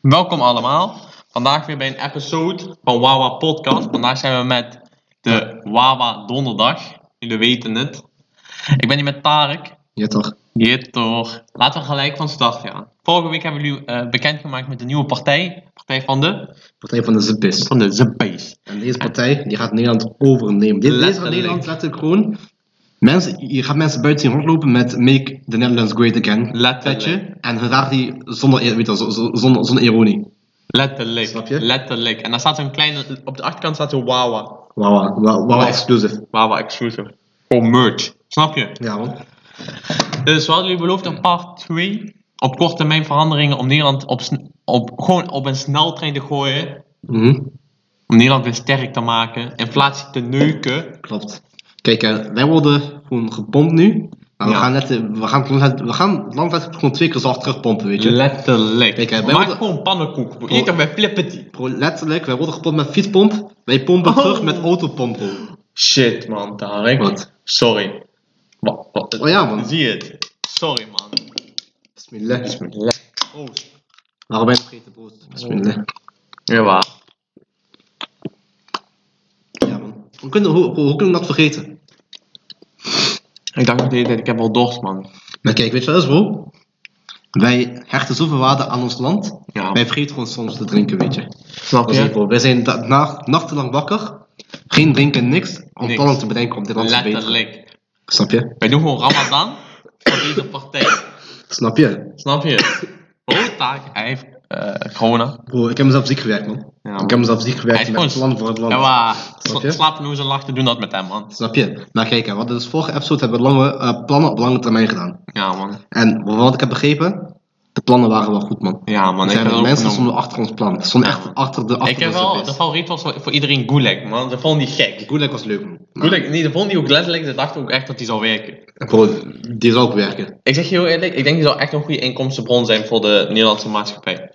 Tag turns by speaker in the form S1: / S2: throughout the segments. S1: Welkom allemaal. Vandaag weer bij een episode van Wawa Podcast. Vandaag zijn we met de Wawa Donderdag. Jullie weten het. Ik ben hier met Tarek.
S2: Ja, toch?
S1: Jeet toch. Laten we gelijk van start gaan. Vorige week hebben we jullie eh, bekendgemaakt met de nieuwe partij. Partij van de...
S2: Partij van de Zipis.
S1: Van de Zepees.
S2: En deze partij die gaat Nederland overnemen. Dit deze van
S1: Letterlijk.
S2: Nederland letterlijk gewoon. Mensen, je gaat mensen buiten zien rondlopen met Make the Netherlands Great Again.
S1: Letterlijk.
S2: Petje. En ze dragen die zonder, eer- weet je, wel, zo- zo- zonder, zonder ironie.
S1: Letterlijk.
S2: Snap je?
S1: Letterlijk. En daar staat zo'n kleine... Op de achterkant staat zo Wawa.
S2: Wauw, wauw, wauw, exclusive.
S1: Wawa Exclusive. Voor merch. Snap je?
S2: Ja, man.
S1: Dus we hadden jullie beloofd een part 2 op korte termijn veranderingen om Nederland op, sn- op, gewoon op een sneltrein te gooien.
S2: Mhm,
S1: Om Nederland weer sterk te maken, inflatie te neuken.
S2: Klopt. Kijk, eh, wij worden gewoon gepompt nu. Maar
S1: Ja.
S2: we, gaan net, eh, we, gaan, het land net- we gaan het land net gewoon twee keer zacht terugpompen, weet je.
S1: Letterlijk.
S2: Kijk, hè, bij
S1: Maak
S2: ons-
S1: gewoon pannenkoek. Eet toch bij Flippity.
S2: Bro, letterlijk, wij worden gepompt met fietspomp. Wij pompen
S1: Oh.
S2: terug met autopomp, bro.
S1: Shit man, Tarek.
S2: Wat?
S1: Sorry. Wat, wat-
S2: Oh ja, man.
S1: Zie je het? Sorry man.
S2: Bismillah.
S1: Oh,
S2: Waarom ben je vergeten, brood? Bismillah.
S1: ja waar.
S2: Ja, man. Hoe kunnen, hoe, hoe, hoe kunnen we dat vergeten?
S1: Ik dacht nog de hele tijd, ik heb wel dorst man.
S2: Maar kijk, weet je wel eens, bro? Wij hechten zoveel waarde aan ons land.
S1: Ja.
S2: Wij vergeten gewoon soms te drinken, weet je.
S1: Snap
S2: Dat is het, bro. Wij zijn da- na- nachtenlang wakker. Geen drinken, niks. Om
S1: Niks.
S2: dan al te bedenken om dit land te verbeteren.
S1: Letterlijk.
S2: Snap je?
S1: Wij doen gewoon Ramadan voor deze partij.
S2: Snap je?
S1: Snap je? Oh, taak. Hij heeft eh, corona.
S2: Bro, ik heb mezelf ziek gewerkt, man.
S1: Ja.
S2: Ik heb mezelf ziek
S1: Hij
S2: gewerkt
S1: is
S2: met het
S1: gewoon-
S2: plan voor het land.
S1: Ja, maar
S2: Snap je?
S1: slapen hoe ze lachten doen dat met hem, man.
S2: Snap je? Maar kijk, hè, wat dus vorige episode hebben we lange, eh, plannen op lange termijn gedaan.
S1: Ja, man.
S2: En wat ik heb begrepen, de plannen waren wel goed, man.
S1: Ja, man.
S2: Er
S1: Ik,
S2: zijn
S1: heb
S2: wel
S1: dat ook
S2: mensen
S1: genomen.
S2: stonden achter ons plan. Ze stonden
S1: Ja,
S2: echt
S1: man.
S2: achter de achter
S1: ik heb
S2: de
S1: wel,
S2: service.
S1: de favoriet was voor voor iedereen Gulag, man. Ze vonden die gek.
S2: Gulag was leuk, man. Maar-
S1: Gulag, nee, ze vonden die ook letterlijk, ze dachten ook echt dat die zou werken.
S2: Bro, die zou ook werken.
S1: Ik zeg je heel eerlijk, ik denk die zou echt een goede inkomstenbron zijn voor de Nederlandse maatschappij.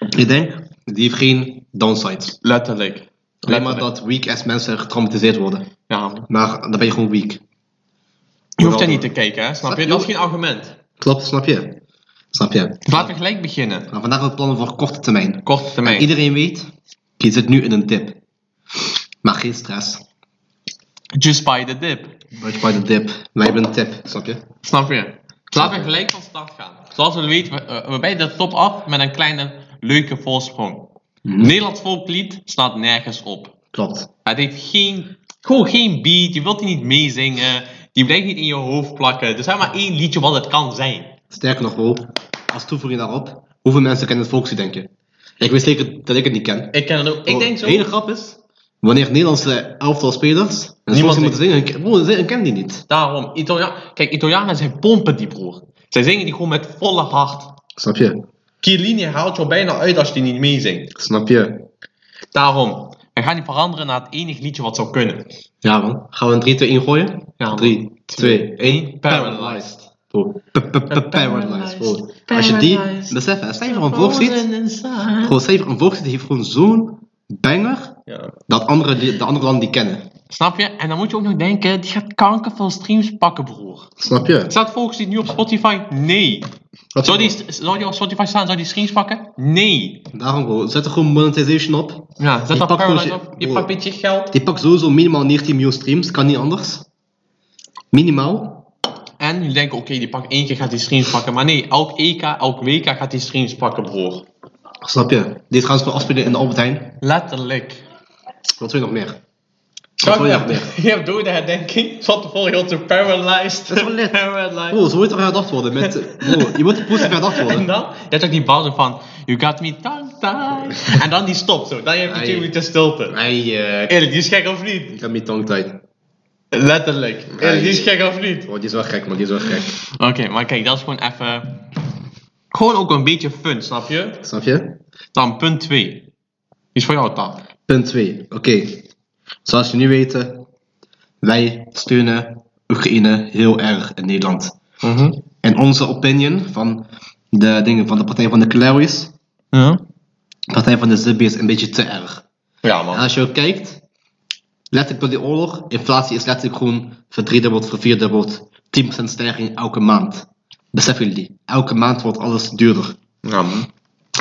S2: Ik denk, die heeft geen downsides.
S1: Letterlijk.
S2: Alleen maar
S1: Letterlijk.
S2: dat weak ass mensen getraumatiseerd worden.
S1: Ja, man.
S2: Maar dan ben je gewoon weak.
S1: Je hoeft
S2: Wel,
S1: daar niet te
S2: man.
S1: kijken, hè. Snap
S2: Snap
S1: je?
S2: je?
S1: Dat is geen argument.
S2: Klopt, snap je? Snap je?
S1: Laten we gelijk beginnen.
S2: Maar vandaag hebben we plannen voor korte termijn.
S1: Korte termijn.
S2: Iedereen weet, je zit nu in een dip. Maar geen stress.
S1: Just by the dip.
S2: Budge by the dip. Wij hebben een tip, snap je?
S1: Snap je? Laten we
S2: je?
S1: gelijk van start gaan. Zoals we weten, we, eh, we bij de top af met een kleine leuke voorsprong. Nederlands volklied staat nergens op.
S2: Klopt.
S1: Het heeft geen, gewoon geen beat, je wilt die niet meezingen, die blijft niet in je hoofd plakken. Er zijn maar één liedje wat het kan zijn.
S2: Sterker nog, bro, als toevoeging daarop, hoeveel mensen kennen het volkslied, denk je? Ik weet zeker dat ik het niet ken.
S1: Ik ken het ook. Ik denk zo.
S2: De hele grap is, wanneer Nederlandse elftal spelers een
S1: Niemand
S2: volkslied moeten zingen, hun ken- bro, ze kennen die niet.
S1: Daarom, Italia kijk, Italianen zijn pompen die broer. Zij zingen die gewoon met volle hart.
S2: Snap je?
S1: Chiellini haalt jou bijna uit als je die niet meezingt.
S2: Snap je?
S1: Daarom, we gaan die veranderen naar het enige liedje wat zou kunnen.
S2: Ja man, gaan we een 3, 2, 1 gooien?
S1: Ja, man.
S2: 3, 2, 1,
S1: Paralyzed.
S2: Bro, p- p- p- Paralyzed, bro. Als je die, besef hè, stel je voor een volkslied,
S1: Goed.
S2: gewoon stel je voor een volkslied die heeft gewoon zo'n banger,
S1: Ja.
S2: dat andere, li- de andere landen die kennen.
S1: Snap je? En dan moet je ook nog denken, die gaat kanker van streams pakken, broer.
S2: Snap je?
S1: Staat volkslied nu op Spotify? Nee.
S2: Wat
S1: Zou die, zou die op Spotify staan? Zou die streams pakken? Nee.
S2: Daarom bro, zet er gewoon monetization op.
S1: Ja, zet
S2: Je
S1: dat
S2: pakt
S1: Paradise
S2: gewoon je-
S1: op. Je
S2: broer.
S1: pakt een beetje geld.
S2: dus- Die pakt sowieso minimaal 19 miljoen streams, kan niet anders. Minimaal. dus-
S1: En je denkt, oké, die pakt één keer gaat die streams pakken. Maar nee, elk EK, elk WK gaat die streams pakken, broer.
S2: Snap je? Dit gaan ze nog afspelen in de Albert Heijn.
S1: Letterlijk.
S2: Wat wil je nog meer?
S1: Zou
S2: wil
S1: je
S2: je
S1: hebt-
S2: nog
S1: je hebt door de herdenking. Zat de volgende heel te paralyzed.
S2: Dat is wel lit.
S1: Paralyzed.
S2: Bro, zo moet je toch herdacht worden? Met, eh, bro, je moet positief herdacht
S1: En
S2: worden.
S1: dan, je hebt ook die pauze van, you got me tongue tied. En dan die stopt zo, dan heb je
S2: Ai.
S1: twee minuten stilte.
S2: Hey, eh,
S1: Eerlijk, die is gek of niet?
S2: ik heb mijn tong tijd.
S1: Letterlijk. Eerlijk, die is gek of niet?
S2: Oh, die is wel gek, man, die is wel gek.
S1: Oké, maar kijk, dat is gewoon even... Gewoon ook een beetje fun, snap je?
S2: Snap je?
S1: Dan punt 2. Die is voor jou, Tam.
S2: Punt 2. Oké. Zoals jullie weten, wij steunen Oekraïne heel erg in Nederland. En onze opinion van de, dingen, van de Partij van de Claries,
S1: ja.
S2: Partij van de Zibi is een beetje te erg.
S1: ja,
S2: En
S1: man.
S2: als je ook kijkt, letterlijk door die oorlog, inflatie is letterlijk gewoon verdriedubbeld, vervierdubbeld. 10% stijging elke maand. Beseffen jullie, elke maand wordt alles duurder.
S1: Ja, man.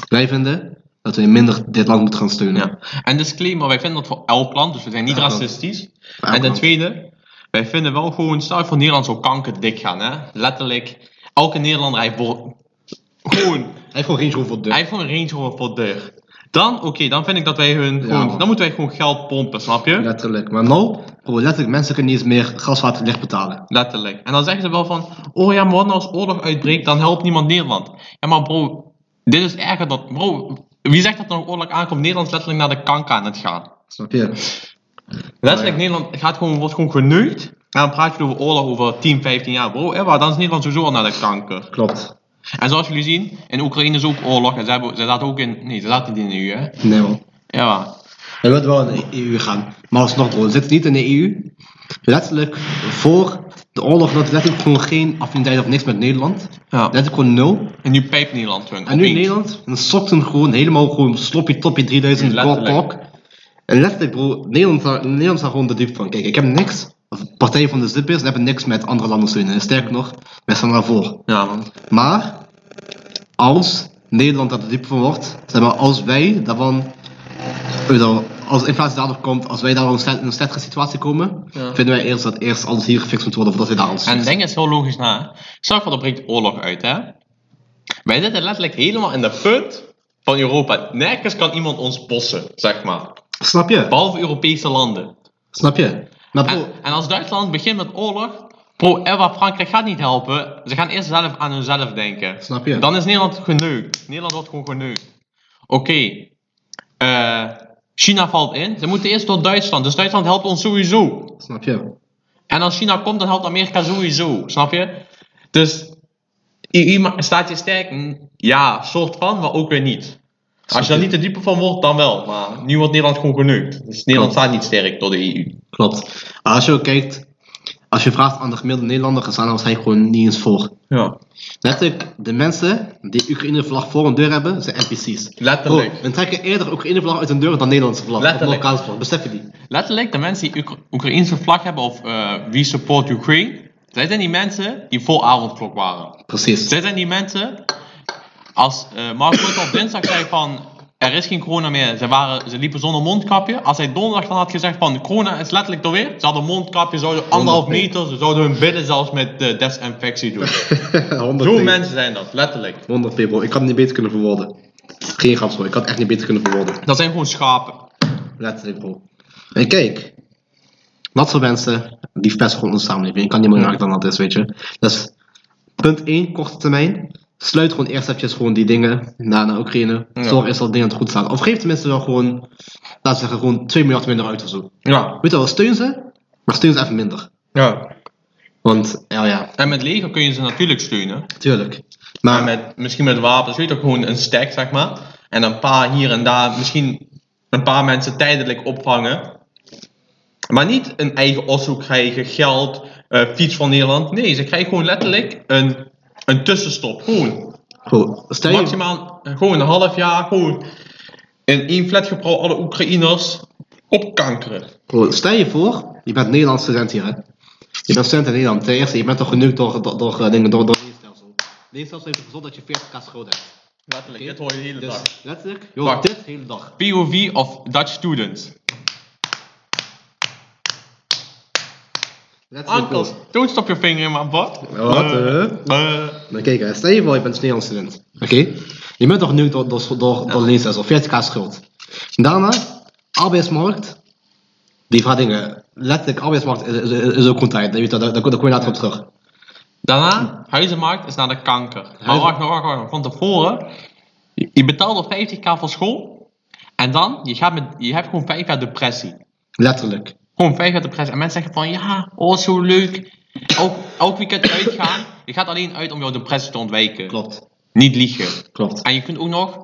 S2: Wij vinden dat we minder dit land moeten gaan steunen.
S1: Ja. En disclaimer, wij vinden dat voor elk land, dus we zijn niet
S2: Elk land.
S1: racistisch.
S2: elk
S1: En ten
S2: land.
S1: tweede, wij vinden wel gewoon, stel je voor Nederland zou kankerdik gaan, hè. Letterlijk, elke Nederlander heeft voor- gewoon,
S2: Hij heeft gewoon geen zoveel voor de.
S1: hij heeft gewoon een Range Rover voor deur. Dan, oké, dan vind ik dat wij hun gewoon,
S2: man.
S1: dan moeten wij gewoon geld pompen, snap je?
S2: Letterlijk. Maar nou, bro, letterlijk, mensen kunnen niet eens meer gas, water, licht betalen.
S1: Letterlijk. En dan zeggen ze wel van, oh ja, maar wat nou als oorlog uitbreekt, dan helpt niemand Nederland. Ja, maar bro, dit is erger dan, bro, wie zegt dat er een oorlog aankomt? Nederland is letterlijk naar de kanker aan het gaan.
S2: Snap je?
S1: Letterlijk,
S2: Ja,
S1: Nederland gaat gewoon, wordt gewoon geneukt. En dan praat je over oorlog over 10, 15 jaar, bro. Ewa, dan is Nederland sowieso al naar de kanker.
S2: Klopt.
S1: En zoals jullie zien, in Oekraïne is ook oorlog. En ze, hebben, ze zaten ook in, nee, ze zaten niet in de EU, hè.
S2: Nee, man.
S1: Ewa.
S2: Hij wil wel in de EU gaan. Maar alsnog, bro, zit niet in de EU. Letterlijk, voor de oorlog had letterlijk gewoon geen affiniteit of niks met Nederland.
S1: Ja.
S2: Letterlijk gewoon nul.
S1: En nu pijpt Nederland hun.
S2: En nu in Nederland, dan sokt hem gewoon helemaal gewoon sloppy toppy 3000
S1: Letterlijk.
S2: klok. En letterlijk, bro, Nederland, zou- Nederland staat gewoon de dupe van. Kijk, ik heb niks. Of Partij van de Zippers hebben niks met andere landen steunen. Sterker nog, wij staan daarvoor.
S1: Ja, man.
S2: Maar als Nederland daar de dupe van wordt, zeg maar, als wij daarvan, ik bedoel, als inflatie daardoor komt, als wij daar in een slecht- in een slechtere situatie komen,
S1: Ja.
S2: vinden wij eerst dat eerst alles hier gefixt moet worden voordat wij daar alles
S1: En denk eens heel logisch na. Stel voor, er breekt oorlog uit, hè? Wij zitten letterlijk helemaal in de punt van Europa. Nergens kan iemand ons bossen, zeg maar.
S2: Snap je?
S1: Behalve Europese landen.
S2: Snap je? Maar bro,
S1: En, en als Duitsland begint met oorlog, pro Ewa Frankrijk gaat niet helpen. Ze gaan eerst zelf aan hunzelf denken.
S2: snap je?
S1: Dan is Nederland geneukt. Nederland wordt gewoon geneukt. Oké. eh, China valt in. Ze moeten eerst door Duitsland. Dus Duitsland helpt ons sowieso.
S2: Snap je?
S1: En als China komt, dan helpt Amerika sowieso, snap je? Dus i- iemand staat je sterk? Mm, Ja, soort van, maar ook weer niet. Als je daar niet te diepe van wordt, dan wel. Maar nu wordt Nederland gewoon geneukt. Dus Nederland staat niet sterk door de E EU.
S2: Klopt. Maar als je ook kijkt, als je vraagt aan de gemiddelde Nederlander, dan staan er waarschijnlijk gewoon niet eens voor.
S1: Ja.
S2: Letterlijk, de mensen die Oekraïne-vlag voor hun deur hebben, zijn NPC's.
S1: Letterlijk.
S2: Bro, we trekken eerder Oekraïne-vlag uit hun deur dan Nederlandse vlag.
S1: Letterlijk.
S2: Of Marokkaanse vlag, besef je die?
S1: Letterlijk, de mensen die Oek- Oekraïnse vlag hebben of eh wie support Ukraine, zij zijn die mensen die voor avondklok waren.
S2: Precies.
S1: Zij zijn die mensen. Als eh Mark Rutte op dinsdag zei van. Er is geen corona meer. Ze, waren, ze liepen zonder mondkapje. Als hij donderdag dan had gezegd van corona is letterlijk er weer. Ze hadden mondkapje, ze zouden anderhalf
S2: Honderd
S1: meter, ze zouden hun billen zelfs met eh, desinfectie doen.
S2: 100
S1: Zo mensen zijn dat, letterlijk.
S2: 100 people. Ik had het niet beter kunnen verwoorden. Geen grap, bro. Ik had het echt niet beter kunnen verwoorden.
S1: Dat zijn gewoon schapen.
S2: Letterlijk, bro. En kijk, dat soort mensen, die verpesten gewoon onze samenleving. Ik kan niet meer raken dan dat is, weet je. Dus, punt 1, korte termijn. Sluit gewoon eerst eventjes gewoon die dingen naar, naar Oekraïne.
S1: Ja.
S2: Zorg eerst dat dingen goed staan. Of geef tenminste wel gewoon, laten we zeggen, gewoon 2 miljard minder uit of zo.
S1: Ja,
S2: Weet je wel, steun ze, maar steun ze even minder.
S1: ja.
S2: Want, ja, ja,
S1: En met leger kun je ze natuurlijk steunen.
S2: tuurlijk.
S1: Maar
S2: Maar,
S1: met, misschien met wapens, weet je toch, gewoon een stack zeg maar. En een paar hier en daar, misschien een paar mensen tijdelijk opvangen. Maar niet een eigen osso krijgen, geld, eh, fiets van Nederland. Nee, ze krijgen gewoon letterlijk een, een tussenstop. Gewoon
S2: bro, stel je,
S1: maximaal eh, gewoon een half jaar, gewoon in één flatgebouw alle Oekraïners opkankeren.
S2: bro, stel je voor, je bent Nederlands student hier, hè. Je bent student in Nederland. Ten eerste, je bent toch genukt door, door, door, eh, dingen, door, door leefstelsel. Leefstelsel heeft gezond dat je 40k schuld hebt.
S1: Letterlijk, dit hoor je de hele dag.
S2: Dus letterlijk, joh,
S1: Wacht.
S2: dit de hele dag.
S1: POV of Dutch students.
S2: Letterlijk,
S1: Ankels,
S2: joh.
S1: don't stop your finger in my butt.
S2: Wat,
S1: Eh, eh.
S2: Maar kijk, hè, stel je voor, je bent een Nederlands student. Oké? Je bent toch nu door, door, door, door leenstelsel, 40k schuld. Daarna, arbeidsmarkt. Die vraagt dingen. Letterlijk, arbeidsmarkt is, is, is ook goed tijd. Daar, daar, daar, daar kom je later op terug.
S1: Daarna, huizenmarkt is naar de kanker. Maar
S2: Huizen-
S1: wacht, nog, wacht, wacht, nog. Van tevoren, je je betaalde 50k voor school. En dan, je, gaat met, je hebt gewoon 5 jaar depressie.
S2: Letterlijk.
S1: Gewoon 5 jaar depressie. En mensen zeggen van, ja, oh zo leuk. Elk, elk weekend uitgaan. Je gaat alleen uit om jouw depressie te ontwijken.
S2: Klopt.
S1: Niet liegen.
S2: Klopt.
S1: En je kunt ook nog,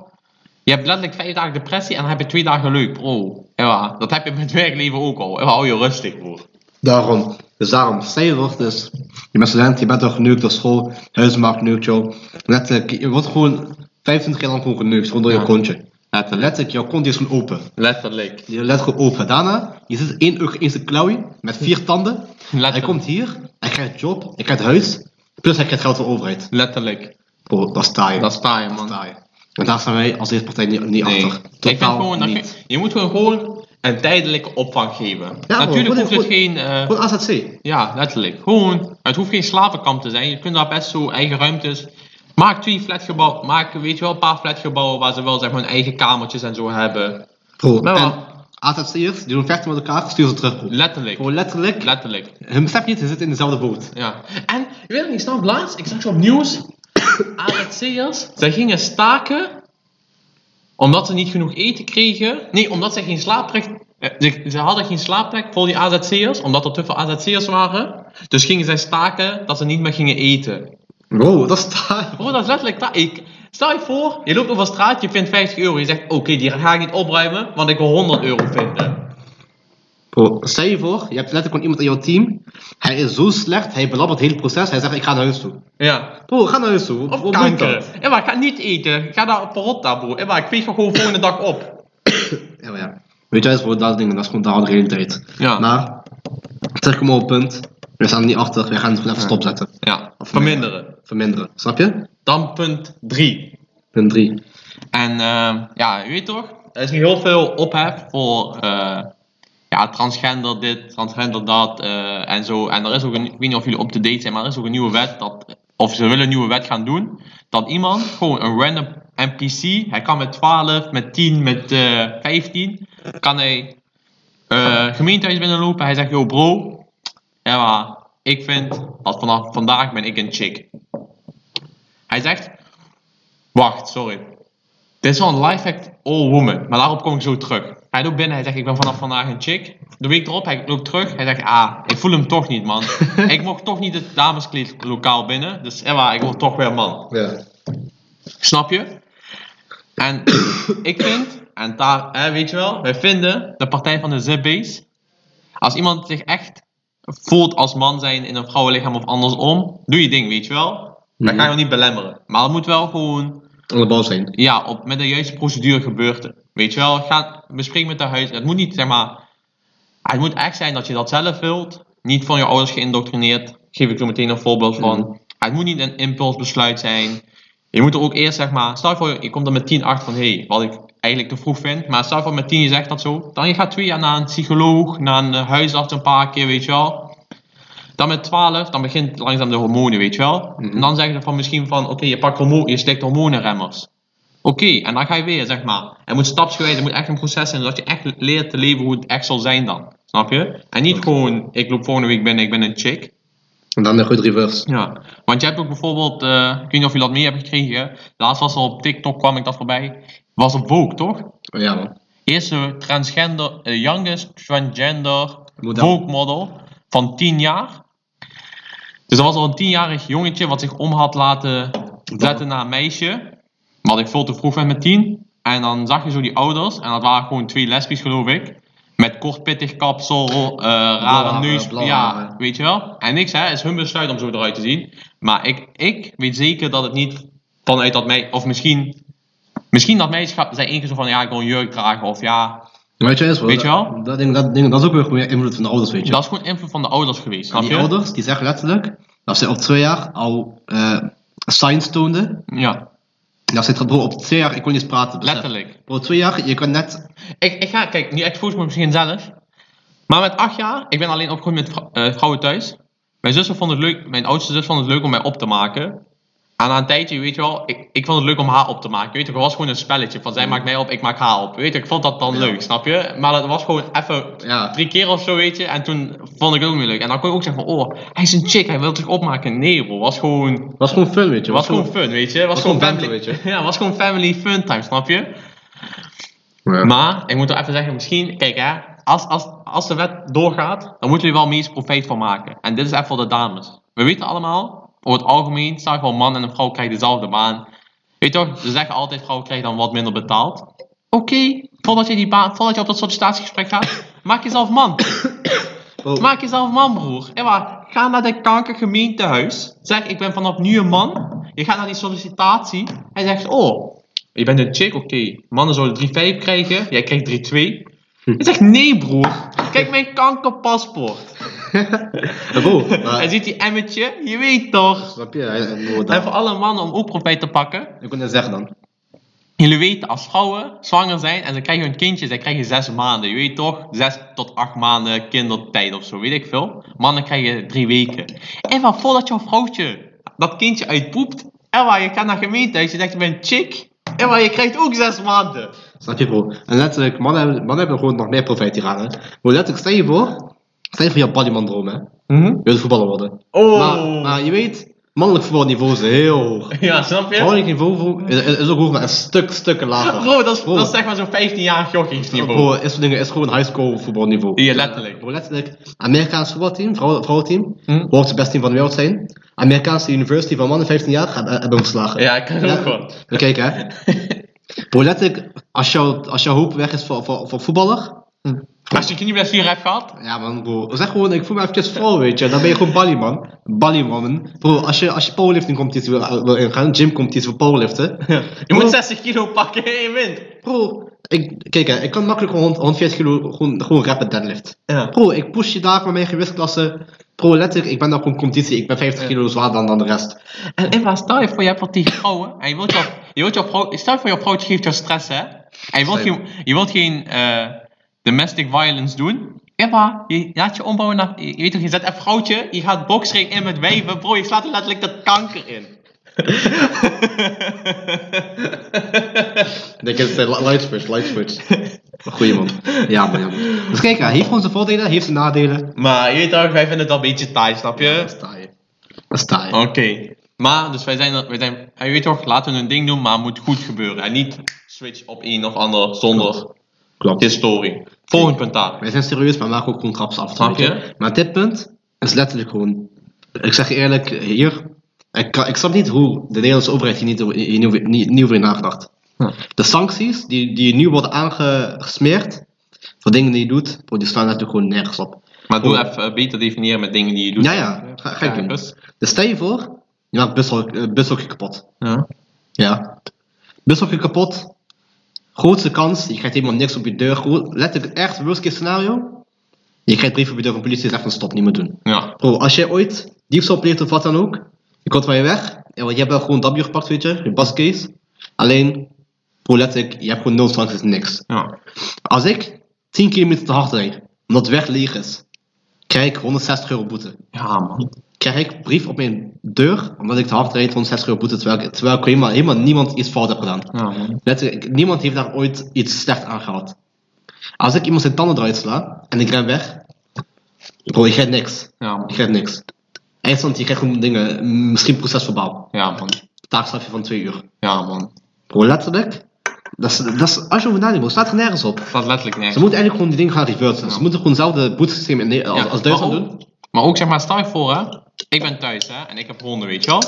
S1: je hebt letterlijk 5 dagen depressie en dan heb je 2 dagen leuk, bro. Ja, dat heb je met het werkleven ook al. Ja, hou je rustig, broer.
S2: Daarom. Dus daarom, stel je voor, dus, je bent student, je bent toch geneukt door school, huismarkt neukt jou. Letterlijk, je wordt gewoon 25 jaar lang gewoon geneukt, gewoon door
S1: Ja.
S2: je kontje. Letterlijk, letterlijk, jouw kont is gewoon open.
S1: Letterlijk.
S2: Je let gewoon open. Daarna, je zit één uur in zijn klauwje met vier tanden. Hij
S1: Letterlijk.
S2: komt hier, hij krijgt job, hij krijgt huis, plus hij krijgt geld van de overheid.
S1: Letterlijk.
S2: Bro, dat is taai.
S1: Dat sta je, man.
S2: taai. En daar staan wij als deze partij niet, niet
S1: Nee.
S2: achter.
S1: Ik vind
S2: Totaal
S1: gewoon, dat
S2: niet.
S1: je, je moet gewoon een tijdelijke opvang geven.
S2: Ja,
S1: Natuurlijk
S2: gewoon
S1: hoeft het
S2: goed-
S1: geen... eh,
S2: Gewoon AZC.
S1: Ja, letterlijk. Gewoon, het hoeft geen slavenkamp te zijn. Je kunt daar best zo eigen ruimtes. Maak twee flatgebouwen, maak weet je wel, een paar flatgebouwen waar ze wel zeg maar hun eigen kamertjes en zo hebben.
S2: Bro,
S1: Nou,
S2: en
S1: wel.
S2: AZC'ers, die doen vechten met elkaar, sturen ze terug op.
S1: Letterlijk.
S2: Gewoon letterlijk.
S1: Letterlijk.
S2: hun besef niet, ze zitten in dezelfde boot.
S1: Ja. En, je weet het niet, snap laatst, ik zag zo op nieuws, AZC'ers, zij gingen staken omdat ze niet genoeg eten kregen. Nee, omdat ze geen slaapplek, eh, ze, ze hadden geen slaapplek voor die AZC'ers, omdat er te veel AZC'ers waren. Dus gingen zij staken dat ze niet meer gingen eten.
S2: Wow, Oh, dat is taai.
S1: Bro, dat is letterlijk waar. Ik, stel je voor, je loopt over straat, je vindt 50 euro. Je zegt, oké, die ga ik niet opruimen, want ik wil 100 euro vinden.
S2: Bro, stel je voor, je hebt letterlijk gewoon iemand in jouw team. Hij is zo slecht, hij belabbert het hele proces. Hij zegt, ik ga naar huis toe.
S1: Ja.
S2: Bro, ga naar huis toe.
S1: Of
S2: Wat moet
S1: kanker.
S2: dat?
S1: Emma, ik ga niet eten. Ik Ga daar op rot daar, bro. Emma, ik veeg me gewoon volgende dag op.
S2: Ja, maar ja. Weet je, dat is gewoon dat ding, dat is gewoon de harde realiteit.
S1: Ja.
S2: Maar, terugkomen op het punt. We staan er niet achter, we gaan het gewoon even stopzetten.
S1: Ja,
S2: Of
S1: verminderen.
S2: Verminderen, snap je?
S1: Dan punt 3.
S2: Punt 3.
S1: En ehm, ja, je weet toch, er is nu heel veel ophef voor eh, ja, transgender dit, transgender dat eh, en zo. En er is ook, een, ik weet niet of jullie up-to-date zijn, maar er is ook een nieuwe wet dat, of ze willen een nieuwe wet gaan doen, dat iemand gewoon een random NPC, hij kan met 12, met 10, met eh 15, kan hij eh gemeentehuis binnenlopen. Hij zegt, yo bro, ja, maar ik vind dat vanaf vandaag ben ik een chick. Hij zegt, wacht, sorry. Dit is wel een lifehack all woman, maar daarop kom ik zo terug. Hij loopt binnen, hij zegt ik ben vanaf vandaag een chick. De week erop, hij loopt terug, hij zegt ah, ik voel hem toch niet man. ik mocht toch niet het dameskleedlokaal binnen, dus Emma, ik word toch weer man.
S2: Ja.
S1: Snap je? En ik vind, en daar, hè, weet je wel, wij vinden de partij van de Zipbase, als iemand zich echt voelt als man zijn in een vrouwenlichaam of andersom, doe je ding, weet je wel. Dan ga je hem niet belemmeren. Maar het moet wel gewoon
S2: Aan de bal zijn.
S1: ja, op, met de juiste procedure gebeurt het. Weet je wel, ga, bespreek met de huis. Het moet niet, zeg maar, het moet echt zijn dat je dat zelf wilt. Niet van je ouders geïndoctrineerd. Geef ik zo meteen een voorbeeld van. Het moet niet een impulsbesluit zijn. Je moet er ook eerst, zeg maar, stel je voor, je komt er met 10 achter van, hé, hey, wat ik eigenlijk te vroeg vind. Maar stel je voor, met 10 je zegt dat zo. Dan je gaat twee jaar naar een psycholoog, naar een eh, huisarts een paar keer, weet je wel. Dan met 12, dan begint langzaam de hormonen, weet je wel. En dan zeggen ze van misschien van, oké, je pakt hormonen, je slikt hormonenremmers. Oké, en dan ga je weer, zeg maar. Het moet stapsgewijs, het moet echt een proces zijn, zodat je echt leert te leven hoe het echt zal zijn dan. Snap je? En niet gewoon, ik loop volgende week binnen, ik ben een chick.
S2: En dan een goed reverse.
S1: Ja, want je hebt ook bijvoorbeeld, eh, ik weet niet of je dat mee hebt gekregen, laatst was er op TikTok, kwam ik dat voorbij, was op Vogue, toch?
S2: Oh, ja, man.
S1: Eerste transgender, eh, youngest transgender
S2: Model.
S1: Vogue model van 10 jaar. Dus dat was al een 10-jarig jongetje wat zich om had laten zetten naar een meisje. Wat ik veel te vroeg werd met 10. En dan zag je zo die ouders, en dat waren gewoon twee lesbisch geloof ik. Met kort pittig kapsel, eh rare
S2: haren,
S1: neus.
S2: blauwe
S1: Ja,
S2: haren.
S1: weet je wel. En niks, hè, het is hun besluit om zo eruit te zien. Maar ik, ik weet zeker dat het niet vanuit dat meisje, of misschien, misschien dat meisje gaat- zijn ingezien van ja, ik wil een jurk dragen. Of ja,
S2: Weet je, eens, bro,
S1: Weet je wel?
S2: Dat, dat, ding, dat, ding, dat is ook weer meer invloed van de ouders, weet je.
S1: dat is gewoon invloed van de ouders geweest. Snap
S2: die
S1: je?
S2: ouders die zeggen letterlijk dat ze op twee jaar al eh signs toonden.
S1: Ja,
S2: Dat ze het bro, op twee jaar, ik kon niet eens praten. besef.
S1: letterlijk.
S2: Bro, twee jaar, je kan net.
S1: Ik, ik ga, kijk, nu expose me misschien zelf. Maar met acht jaar, ik ben alleen opgegroeid met vrou- eh, vrouwen thuis. Mijn zussen vond het leuk, mijn oudste zus vond het leuk om mij op te maken. En na een tijdje, weet je wel, ik, ik vond het leuk om haar op te maken. Weet je, het was gewoon een spelletje. Van zij maakt mij op, ik maak haar op. Weet je, ik vond dat dan
S2: Ja.
S1: leuk, snap je? Maar dat was gewoon even
S2: Ja.
S1: drie keer of zo, weet je. En toen vond ik het ook weer leuk. En dan kon je ook zeggen van, oh, hij is een chick, hij wil zich opmaken. Nee, bro, was gewoon...
S2: was gewoon fun, weet je.
S1: Was gewoon fun, weet je? Was, gewoon
S2: gewoon
S1: family,
S2: banter, weet
S1: Ja, was gewoon family fun time, snap je?
S2: Ja.
S1: Maar, ik moet er even zeggen, misschien, kijk hè, als, als, als de wet doorgaat, dan moeten we er wel meest profijt van maken. En dit is even voor de dames. We weten allemaal, over het algemeen, staat gewoon man en een vrouw krijgen dezelfde baan. Weet je toch, ze zeggen altijd, vrouwen krijgen dan wat minder betaald. Oké, voordat, je die baan, voordat je op dat sollicitatiegesprek gaat, maak jezelf man.
S2: Bro,
S1: Maak jezelf man, broer. Ewa, ga naar de kankergemeentehuis. Zeg, ik ben vanaf nu een man. Je gaat naar die sollicitatie. Hij zegt, oh, je bent een chick, oké. Mannen zouden 3,5 krijgen. Jij krijgt 3,2. Hij zegt, nee, broer. Kijk mijn kankerpaspoort.
S2: bro,
S1: Hij
S2: maar,
S1: ziet die emmetje. Je weet toch.
S2: snap je? Hij- hij- bro, dat-
S1: En voor alle mannen om ook profijt te pakken.
S2: Ik kon net zeggen dan.
S1: Jullie weten, als vrouwen zwanger zijn en ze krijgen hun kindjes, dan krijgen zes maanden. Je weet toch, zes tot acht maanden kindertijd of zo, weet ik veel. Mannen krijgen drie weken. En van voordat jouw vrouwtje dat kindje uitpoept, en waar je gaat naar gemeentehuis, je denkt je bent chick, en waar je krijgt ook zes maanden.
S2: Snap je bro? En letterlijk, mannen, hebben- mannen hebben gewoon nog meer profijt hieraan hè. Maar letterlijk, stel je voor, stel je voor je bodyman droom hè. Je wilt voetballer worden.
S1: Oh.
S2: Maar, maar je weet, mannelijk voetbalniveau is heel hoog.
S1: Ja, snap je?
S2: Vrouwelijk niveau vo- is, is ook hoog, maar een stuk, stukken lager.
S1: Bro, dat is,
S2: Bro.
S1: dat is zeg maar zo'n 15-jarig jochingsniveau.
S2: Bro, is, soort dingen- is gewoon high school voetbalniveau.
S1: Ja, letterlijk.
S2: Bro, letterlijk, Amerikaans voetbalteam, vrouw- vrouwenteam,
S1: Hm?
S2: hoort het beste team van de wereld zijn. Amerikaanse university van mannen 15 jaar hebben hebben hem geslagen.
S1: Ja, ik kan
S2: Ja.
S1: ook gewoon.
S2: We kijken, hè. Bro, letterlijk, als jouw als jouw hoop weg is voor, voor, voor voetballer.
S1: Als je knieblessure hebt gehad,
S2: Ja, man, bro. Zeg gewoon, ik voel me eventjes vrouw, weet je. Dan ben je gewoon ballyman. Ballywoman. Bro, als je, als je powerlifting competitie wil, eh, wil ingaan, gym competitie voor powerliften.
S1: je
S2: Bro.
S1: moet 60 kilo pakken en je wint.
S2: Bro, ik, kijk, hè, ik kan makkelijk gewoon 140 kilo gewoon, gewoon rapid deadlift.
S1: Ja.
S2: Bro, ik push je daar met mijn gewichtsklasse. Bro, letterlijk, ik ben dan gewoon competitie. Ik ben 50 kilo zwaarder dan, dan de rest.
S1: En Eva, stel je voor, je hebt wat tegen vrouwen. En je wilt jouw, je wilt jouw vrouw, stel je voor, jouw vrouwtje geeft jou stress, hè? En je wilt
S2: Stel je-
S1: geen, je wilt geen eh, domestic violence doen. Eva, je laat je ombouwen naar, je weet toch, je zet een vrouwtje, je gaat boksring in met wijven, bro, je slaat er letterlijk dat kanker in.
S2: Ik denk dat het light switch, light switch. Goeie man. Ja, man, ja, man. Dus kijk, hè, heeft gewoon zijn voordelen, heeft zijn nadelen.
S1: maar je weet toch, wij vinden het al een beetje taai, snap je?
S2: Dat sta je. Dat sta je.
S1: Oké. Maar, dus wij zijn, er- wij zijn, en je weet toch, laten we een ding doen, maar het moet goed gebeuren. En niet switch op een of ander zonder
S2: Klopt.
S1: historie. Volgend punt daar.
S2: Wij zijn serieus, maar we maken ook gewoon graps af.
S1: Snap je?
S2: weet Maar dit punt is letterlijk gewoon. Ik zeg je eerlijk, hier. Ik, kan- ik snap niet hoe de Nederlandse overheid hier niet, over- hier niet, over- niet, niet over heeft nagedacht.
S1: Ja.
S2: De sancties die, die nu worden aangesmeerd voor dingen die je doet, bro, die slaan natuurlijk gewoon nergens op.
S1: Maar doe
S2: Goed.
S1: even eh, beter definiëren met dingen die je doet.
S2: Ja, ja, ga, ga ik
S1: Ja,
S2: doen.
S1: bus.
S2: Dus stel je voor, je maakt bushok- eh, bushokje kapot.
S1: Ja.
S2: Ja. Bushokje kapot. Grootste kans, je krijgt helemaal niks op je deur. Gro- Letterlijk echt, worst case scenario. Je krijgt brief op je deur van de politie, zegt van stop, niet meer doen.
S1: Ja.
S2: Bro, als jij ooit diefstal pleegt of wat dan ook, je komt van je weg. Ja, want je hebt wel gewoon W gepakt, weet je, je bascase. Alleen, bro, letterlijk, je hebt gewoon nul sancties, niks.
S1: ja.
S2: Als ik 10 kilometer te hard rijd, omdat de weg leeg is, krijg ik 160 euro boete.
S1: Ja, man.
S2: Krijg ik brief op mijn deur, omdat ik te hard rijd, 160 euro boete, terwijl ik, terwijl ik helemaal, helemaal niemand iets fout heb gedaan.
S1: Ja, man.
S2: Letterlijk, niemand heeft daar ooit iets slecht aan gehad. Als ik iemand zijn tanden eruit sla, en ik ren weg, bro, ik krijg niks.
S1: Ja, man.
S2: Je krijgt niks. Eindstand, je krijgt gewoon dingen, mm, misschien procesverbaal.
S1: Ja, man.
S2: Taakstrafje van twee uur.
S1: Ja, man.
S2: Bro, letterlijk. Dat is, dat is, als je over nadenkt, bro, staat er nergens op.
S1: Het staat letterlijk
S2: Ze
S1: nergens.
S2: moeten eigenlijk gewoon die dingen gaan reversen. Ze moeten gewoon hetzelfde boetesysteem in Ne- als,
S1: Ja,
S2: als Duitsland
S1: maar ook-
S2: doen.
S1: Maar ook zeg maar, stel je voor, hè. Ik ben thuis, hè. En ik heb honden, weet je wel.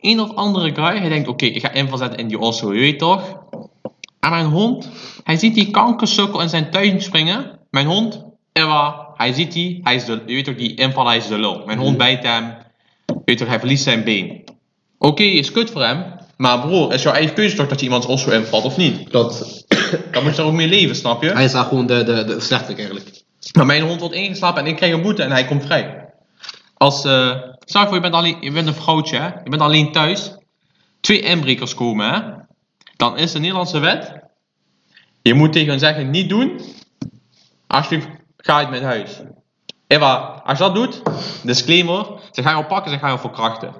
S1: Een of andere guy, hij denkt, oké, ik ga inval zetten in die osso, je weet toch. En mijn hond, hij ziet die kankersukkel in zijn tuin springen. Mijn hond, Ewa, hij ziet die, hij is de, je weet toch, die inval, hij is de lul. Mijn
S2: Mhm.
S1: hond bijt hem, je weet toch, hij verliest zijn been. Oké, is kut voor hem. Maar bro, is jouw eigen keuze toch dat je iemands osso invalt of niet?
S2: Dat,
S1: Dan moet je daar ook mee leven, snap je?
S2: hij is daar gewoon de, de, de slechterik eigenlijk.
S1: Maar Nou, mijn hond wordt ingeslapen en ik krijg een boete en hij komt vrij. Als, eh stel je voor, je bent, alleen, je bent een vrouwtje, hè? je bent alleen thuis. Twee inbrekers komen, hè? dan is de Nederlandse wet. Je moet tegen hen zeggen: niet doen. Alsjeblieft, ga uit met huis. Eva, als je dat doet, disclaimer: ze gaan jou pakken, ze gaan jou verkrachten.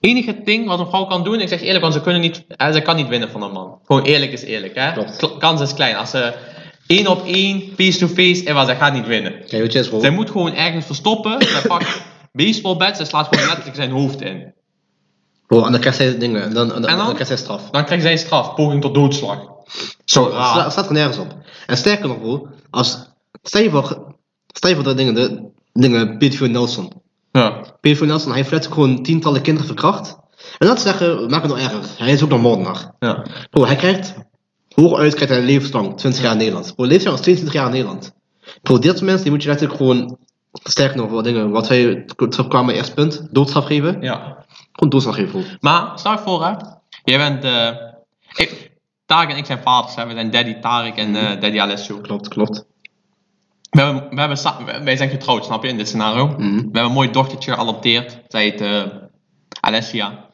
S1: Enige ding wat een vrouw kan doen, ik zeg eerlijk, want ze, kunnen niet, hè, ze kan niet winnen van een man. Gewoon eerlijk is eerlijk, hè?
S2: Klopt.
S1: Kl- Kans is klein. Als ze één op één, face-to-face, Eva, ze gaat niet winnen.
S2: Kijk, weet je eens, bro.
S1: Zij moet gewoon ergens verstoppen, ze pakt baseballbats en slaat gewoon letterlijk zijn hoofd in.
S2: Bro, en dan krijgt hij dingen. En dan, en dan,
S1: En dan?
S2: dan krijgt hij straf.
S1: Dan krijgt zij straf, poging tot doodslag. Zo
S2: Het sla-
S1: raar.
S2: staat er nergens op. En sterker nog, bro. Als, stel, je voor, stel je voor dat dingen, de dingen, Peter Nelson.
S1: Ja.
S2: Peter Nelson, hij heeft letterlijk gewoon tientallen kinderen verkracht. En dat zeggen, maak het nog erger. Hij is ook nog moordenaar.
S1: Ja.
S2: Bro, hij krijgt, hooguit krijgt hij levenslang, 20 jaar in Nederland. Bro, levenslang is 22 jaar in Nederland. Bro, dit soort mensen, die moet je letterlijk gewoon, sterker nog, wat dingen, wat wij terugkwamen bij eerste punt, doodstraf geven.
S1: ja.
S2: Gewoon doodstraf geven, bro.
S1: Maar stel je voor, hè? Jij bent. eh ik, Tarek en ik zijn vaders, hè? We zijn daddy Tarek en eh, daddy Alessio.
S2: Klopt, klopt.
S1: We hebben, we hebben sa- we- wij zijn getrouwd, snap je, Mhm. in dit scenario. We hebben een mooi dochtertje geadopteerd. Zij heet eh, Alessia.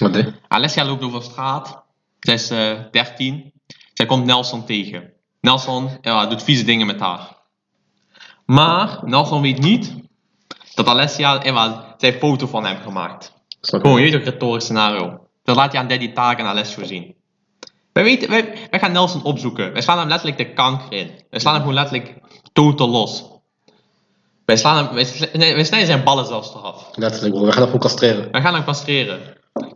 S2: Wat hè?
S1: Alessia loopt over straat. Zij is eh 13. Zij komt Nelson tegen. Nelson ja, doet vieze dingen met haar. Maar Nelson weet niet dat Alessia eh, Emma zijn foto van hem gemaakt.
S2: Snap je?
S1: Gewoon, je weet toch, retorisch scenario. Dat laat je aan Daddy Taak en Alessio zien. Wij, weten, wij, wij gaan Nelson opzoeken. Wij slaan hem letterlijk de kanker in. Wij slaan hem gewoon letterlijk totaal los. Wij, slaan hem, wij, sl- nee, wij snijden zijn ballen zelfs eraf.
S2: Letterlijk, bro. We gaan dat gewoon castreren.
S1: Wij gaan hem castreren.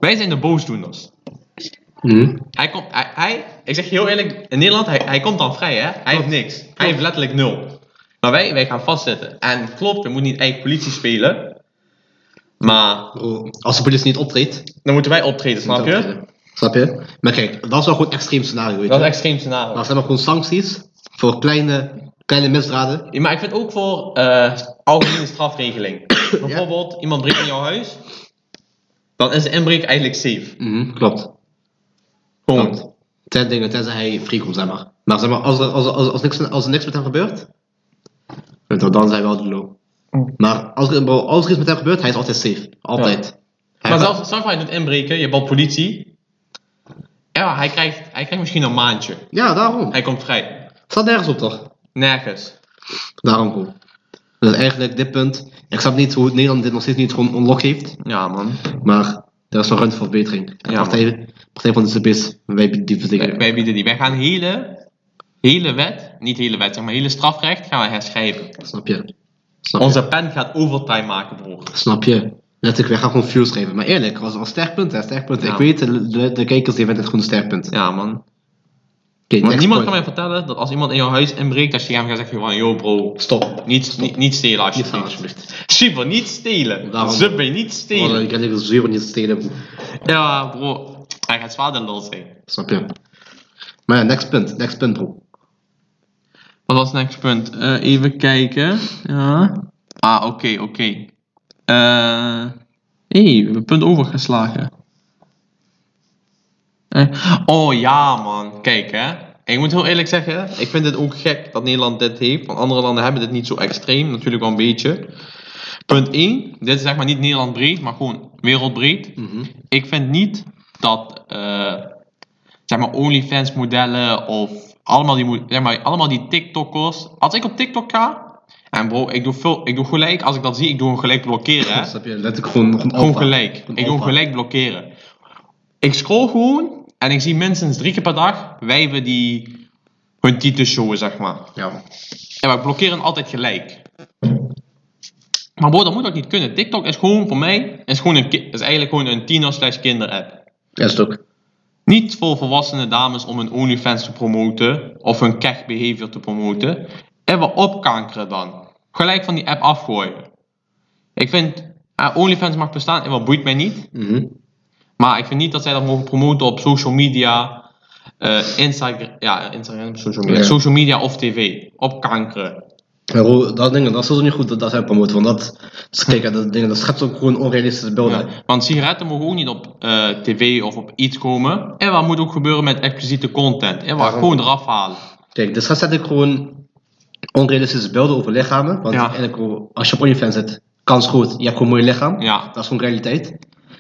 S1: Wij zijn de boosdoeners.
S2: Mhm.
S1: Hij komt, hij, hij- ik zeg je heel eerlijk, in Nederland, hij, hij komt dan vrij, hè? Hij heeft niks. Hij heeft letterlijk nul. Maar wij, wij gaan vastzitten. En klopt, we moeten niet eigen politie spelen. Maar
S2: Bro, als de politie niet optreedt,
S1: dan moeten wij optreden, snap je?
S2: Snap je? Maar kijk, dat is wel gewoon een extreem scenario. Weet
S1: Dat is
S2: je?
S1: een extreem scenario.
S2: Maar zijn maar gewoon sancties voor kleine, kleine misdaden.
S1: Ja, maar ik vind ook voor eh algemene strafregeling. Bijvoorbeeld, iemand breekt in jouw huis. Dan is de inbreuk eigenlijk safe.
S2: Mhm, klopt.
S1: Gewoon.
S2: klopt. Ten dingen, tenzij hij vrijkomt, zeg maar. Maar zeg maar, als er, als, er- als, er- als, niks, als er niks met hem gebeurt, weet je, dan zijn we wel de low.
S1: Mhm.
S2: Maar als, er- bro, als er iets met hem gebeurt, hij is altijd safe. Altijd.
S1: Maar
S2: Hij gaat-
S1: zelfs, zelfs als je doet inbreken, je belt politie. Ja, hij krijgt, hij krijgt misschien een maandje.
S2: Ja, daarom.
S1: Hij komt vrij.
S2: staat nergens op, toch?
S1: Nergens.
S2: Daarom gewoon. Dus eigenlijk dit punt. Ik snap niet hoe het Nederland dit nog steeds niet gewoon unlock heeft.
S1: Ja, man.
S2: Maar er is nog ruimte voor verbetering. En
S1: Ja,
S2: partij, partij van de CB's, wij die
S1: Wij,
S2: verdedigen.
S1: wij bieden die. Wij gaan hele, hele wet, niet hele wet, zeg maar hele strafrecht gaan we herschrijven.
S2: Snap je? Snap je?
S1: Onze pen gaat overtime maken, broer.
S2: Snap je? Letterlijk, wij gaan gewoon views geven. Maar eerlijk, was was sterkpunt, hè? Sterkpunt.
S1: Ja.
S2: Ik weet, de, de, de kijkers die vinden het gewoon een sterkpunt.
S1: Ja, man.
S2: Oké,
S1: Want
S2: next
S1: niemand kan
S2: point.
S1: mij vertellen dat als iemand in jouw huis inbreekt, dat je hem gaat zeggen van, yo bro,
S2: Stop.
S1: niet, niet, niet stelen
S2: Niet gaan,
S1: alsjeblieft.
S2: alsjeblieft.
S1: Super, niet stelen.
S2: Daarom.
S1: Ze ben je niet
S2: Want
S1: stelen.
S2: Ik kan even zuur niet stelen.
S1: Ja, bro. Hij gaat zwaarder lul zijn.
S2: Snap je? Maar ja, next punt. Next punt, bro.
S1: Wat was het next punt? Eh, even kijken. Ja. Ah, oké, oké. Eh, Hé, we hebben punt overgeslagen. Eh, oh ja, man. Kijk, hè. Ik moet heel eerlijk zeggen, ik vind het ook gek dat Nederland dit heeft. Want andere landen hebben dit niet zo extreem. Natuurlijk wel een beetje. Punt 1. Dit is zeg maar niet Nederland breed, maar gewoon wereldbreed. Ik vind niet dat eh, zeg maar OnlyFans modellen of allemaal die, mo- zeg maar, allemaal die TikTokkers. Als ik op TikTok ga, en bro, ik doe, veel, ik doe gelijk, als ik dat zie, ik doe hem gelijk blokkeren. Hè?
S2: Snap je? Letterlijk gewoon, gewoon
S1: Gewoon
S2: alpha.
S1: gelijk.
S2: Een
S1: Ik doe hem
S2: alpha.
S1: gelijk blokkeren. Ik scroll gewoon en ik zie minstens drie keer per dag wijven die hun titels showen, zeg maar.
S2: Ja.
S1: En wij blokkeren altijd gelijk. Maar bro, dat moet ook niet kunnen. TikTok is gewoon voor mij, is, gewoon een, ki- is eigenlijk gewoon een tiener slash kinder app.
S2: Ja, is het ook.
S1: Niet voor volwassene dames om hun OnlyFans te promoten of hun kech behavior te promoten. En we opkankeren dan. Gelijk van die app afgooien. Ik vind, eh, OnlyFans mag bestaan en wat boeit mij niet.
S2: Mhm.
S1: Maar ik vind niet dat zij dat mogen promoten op social media, eh, Instagram, ja, Instagram, social media,
S2: Ja.
S1: social media of tv. Opkankeren.
S2: Maar hoe- dat, dingen, dat is sowieso niet goed dat, dat zij promoten, want dat, dus kijk, hè, dat, dingen, dat schetst ook gewoon onrealistische beelden.
S1: Ja, want sigaretten mogen ook niet op eh, tv of op iets komen. En wat moet ook gebeuren met expliciete content? En wat
S2: Daarom.
S1: gewoon eraf halen.
S2: Kijk, dus dat zet ik gewoon onrealistische beelden over lichamen, want
S1: Ja.
S2: eigenlijk, hoe- als je op OnlyFans zit, kans goed, je hebt gewoon een mooi lichaam,
S1: Ja.
S2: dat is gewoon realiteit.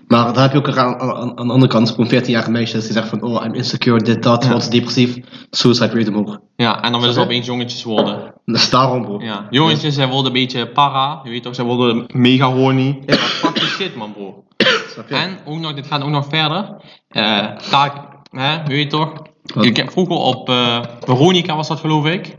S2: Maar dan heb je ook aan, aan, aan de andere kant gewoon 14-jarige meisjes die zeggen van, oh, I'm insecure, dit, dat,
S1: Ja.
S2: wat is depressief, suicide rate omhoog.
S1: Ja, en dan willen ze
S2: Snap je?
S1: opeens jongetjes worden.
S2: Dus daarom, bro.
S1: Ja. Jongetjes, zij worden een beetje para. Je weet toch, zij worden mega horny. Ja, fuck die shit, man, bro.
S2: Snap je?
S1: En ook nog, dit gaat ook nog verder. Eh taak, hè, je weet toch?
S2: Wat?
S1: Ik heb vroeger op eh, Veronica was dat, geloof ik.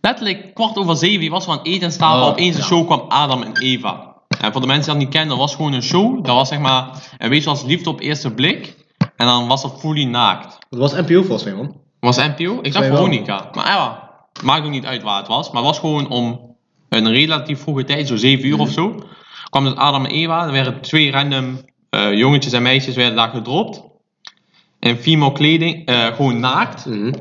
S1: Letterlijk kwart over zeven was er aan het eten staan.
S2: Oh,
S1: opeens een
S2: ja.
S1: show kwam Adam en Eva. En voor de mensen die dat niet kennen, dat was gewoon een show. Dat was zeg maar een beetje als liefde op eerste blik. En dan was dat fully naakt.
S2: Dat was NPO volgens mij, man.
S1: Was NPO? Ik dacht
S2: mij wel.
S1: Veronica. Maar ja, maakt ook niet uit waar het was. Maar het was gewoon om een relatief vroege tijd, zo 7 uur of zo. kwam dus Adam en Eva. Er werden twee random eh, jongetjes en meisjes werden daar gedropt. In female kleding, eh, gewoon naakt.
S2: Mhm.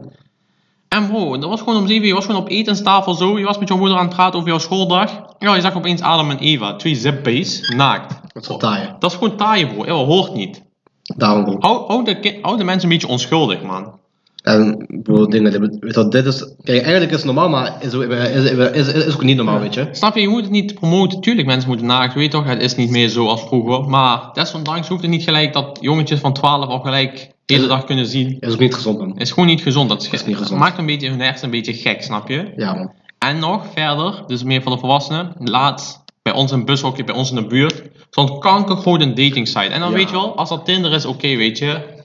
S1: En bro, dat was gewoon om 7 uur. Je was gewoon op etenstafel zo. Je was met je moeder aan het praten over jouw schooldag. Ja, je zag opeens Adam en Eva. Twee zippies, naakt.
S2: Dat is wel taaien.
S1: Dat is gewoon taaien bro. Ja, dat hoort niet.
S2: Daarom, bro.
S1: Hou, hou, de, ki- hou de mensen een beetje onschuldig, man.
S2: En bijvoorbeeld dingen, die- weet je wel, dit is, kijk, eigenlijk is het normaal, maar is, is, is, is, is ook niet normaal, weet je.
S1: Snap je, je moet het niet promoten. Tuurlijk, mensen moeten naakt, weet je toch, het is niet meer zo als vroeger. Maar desondanks hoeft het niet gelijk dat jongetjes van 12 al gelijk de hele dag kunnen zien.
S2: Is ook niet gezond, man.
S1: Is gewoon niet gezond. Dat, is ge-
S2: Is niet gezond.
S1: maakt een beetje hun hersenen een beetje gek, snap je?
S2: Ja, man.
S1: En nog verder, dus meer voor de volwassenen. Laatst bij ons in bushokje, bij ons in de buurt, stond kankergroot een dating site. En dan
S2: Ja.
S1: weet je wel, als dat Tinder is, oké, weet je.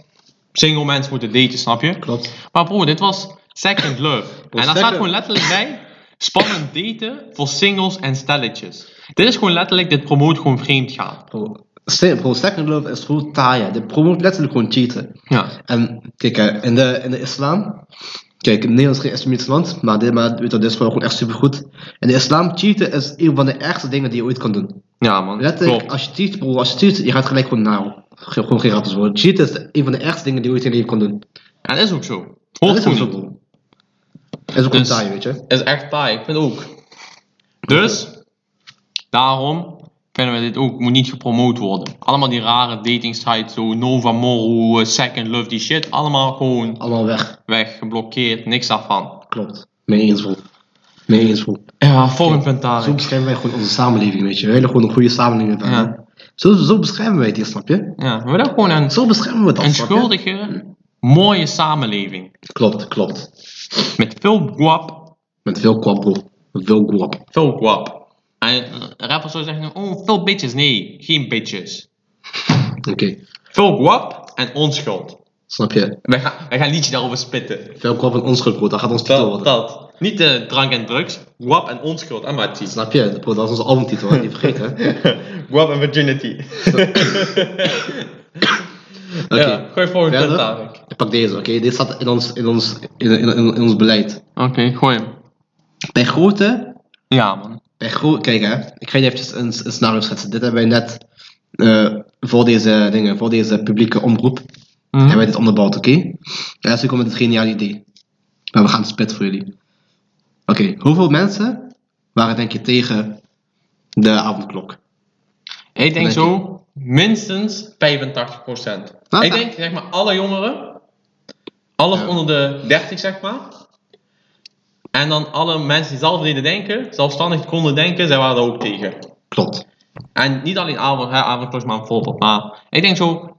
S1: Single mensen moeten daten, snap je?
S2: Klopt.
S1: Maar bro, dit was Second Love. en daar staat
S2: second-
S1: gewoon letterlijk bij: spannend daten voor singles en stelletjes. Dit is gewoon letterlijk, dit promoot gewoon vreemd gaan.
S2: Bro, se- bro, second love is gewoon taai, hè. Dit promoot letterlijk gewoon cheaten.
S1: Ja.
S2: En kijk, hè, in de, in de islam. Kijk, Nederland is geen islamitisch land, maar dit, maar, weet je, wel, dit is gewoon echt supergoed. En de islam cheaten is een van de ergste dingen die je ooit kan doen.
S1: Ja, man.
S2: Letterlijk, als je cheat, bro, als je cheat, je gaat gelijk gewoon nou, ge- gewoon geen rappers worden. Cheaten is een van de ergste dingen die je ooit in je leven kan doen.
S1: En dat is ook zo.
S2: Dat
S1: Hoort
S2: is
S1: gewoon
S2: ook zo,
S1: niet.
S2: bro. Dat is ook
S1: Dus-
S2: een taai, weet je.
S1: is echt taai, ik vind het ook. Dus, daarom vinden we dit ook, moet niet gepromoot worden. Allemaal die rare dating sites, zo Nova Moru, Second Love, die shit, allemaal gewoon
S2: Allemaal weg.
S1: weg, geblokkeerd, niks daarvan.
S2: Klopt. Mee eens, bro. Mee eens, bro.
S1: Ja, volgend punt
S2: Zo
S1: daar.
S2: beschrijven wij gewoon onze samenleving, weet je. We willen gewoon een goede samenleving hebben.
S1: Ja.
S2: Zo, zo beschrijven wij het hier, snap je?
S1: Ja, we willen gewoon een
S2: Zo beschrijven we dat,
S1: Een
S2: snap je?
S1: schuldige, mooie samenleving.
S2: Klopt, klopt.
S1: Met veel guap.
S2: Met veel kwap, bro. Met veel kwap.
S1: Veel guap. En eh, rappers zou zeggen, oh, veel bitches. Nee, geen bitches.
S2: Oké,
S1: Veel guap en onschuld.
S2: snap je?
S1: Wij gaan, wij gaan een liedje daarover spitten.
S2: Veel kwap en onschuld, bro. Dat gaat ons titel
S1: Dat,
S2: worden.
S1: dat. Niet de drank en drugs. Guap en onschuld. Amati.
S2: Snap je? Bro, dat is onze albumtitel, hè? niet vergeten. hè?
S1: Guap en virginity.
S2: Oké.
S1: Ja, gooi volgende punt
S2: Verder?
S1: aan. Oké,
S2: Ik pak deze, oké? Dit staat in ons, in, ons, in, in, in, in ons beleid.
S1: gooi hem.
S2: Bij grote...
S1: Ja, man.
S2: Bij gro Kijk, hè. Ik ga je eventjes een, een scenario schetsen. Dit hebben wij net eh, voor deze dingen, voor deze publieke omroep, hebben wij dit onderbouwd, oké? En als ik kom met het geniale idee. Maar we gaan het spit voor jullie. Oké, hoeveel mensen waren denk je tegen de avondklok?
S1: Ik denk
S2: Denk
S1: zo minstens 85%.
S2: Ah.
S1: Ik denk, zeg maar, alle jongeren, alles
S2: Ja.
S1: onder de 30, zeg maar. En dan alle mensen die zelf deden denken, zelfstandig konden denken, zij waren er ook tegen.
S2: Klopt.
S1: En niet alleen avond, hè, avondklok is maar een voorbeeld, maar ik denk zo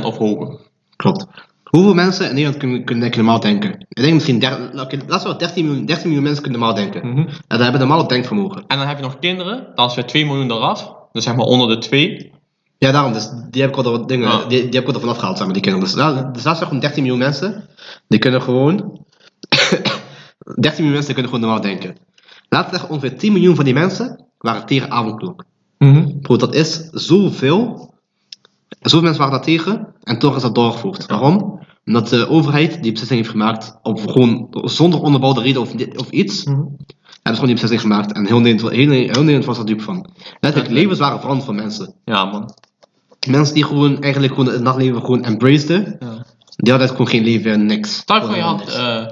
S1: 85% of hoger.
S2: Klopt. Hoeveel mensen in Nederland kunnen, kunnen denken normaal denken? Ik denk misschien, der, oké, laten we wel 13 miljoen, 13 miljoen mensen kunnen normaal denken. En daar hebben normaal denkvermogen.
S1: En dan heb je nog kinderen, dan is weer 2 miljoen eraf, dus zeg maar onder de 2.
S2: Ja, daarom, dus die heb ik al door wat dingen,
S1: Ja.
S2: die, die heb ik al er vanaf gehaald, zeg maar, die kinderen. Dus, daar- dus daar zijn gewoon 13 miljoen mensen, die kunnen gewoon, 13 miljoen mensen kunnen gewoon normaal denken. Laten we zeggen, ongeveer 10 miljoen van die mensen waren tegen avondklok. Bro, dat is zoveel. Zoveel mensen waren daar tegen en toch is dat doorgevoerd. Waarom? Omdat de overheid die beslissing heeft gemaakt, op gewoon zonder onderbouwde reden of, di- of iets, hebben ze gewoon die beslissing gemaakt. En heel Nederland, heel, heel Nederland was daar dupe van. Letterlijk,
S1: Ja.
S2: levens waren veranderd van mensen.
S1: Ja, man.
S2: Mensen die gewoon eigenlijk gewoon het nachtleven gewoon embraceden,
S1: Ja.
S2: die hadden gewoon geen leven, niks.
S1: Stel je voor, je,
S2: Gewoon
S1: had,
S2: niks.
S1: eh,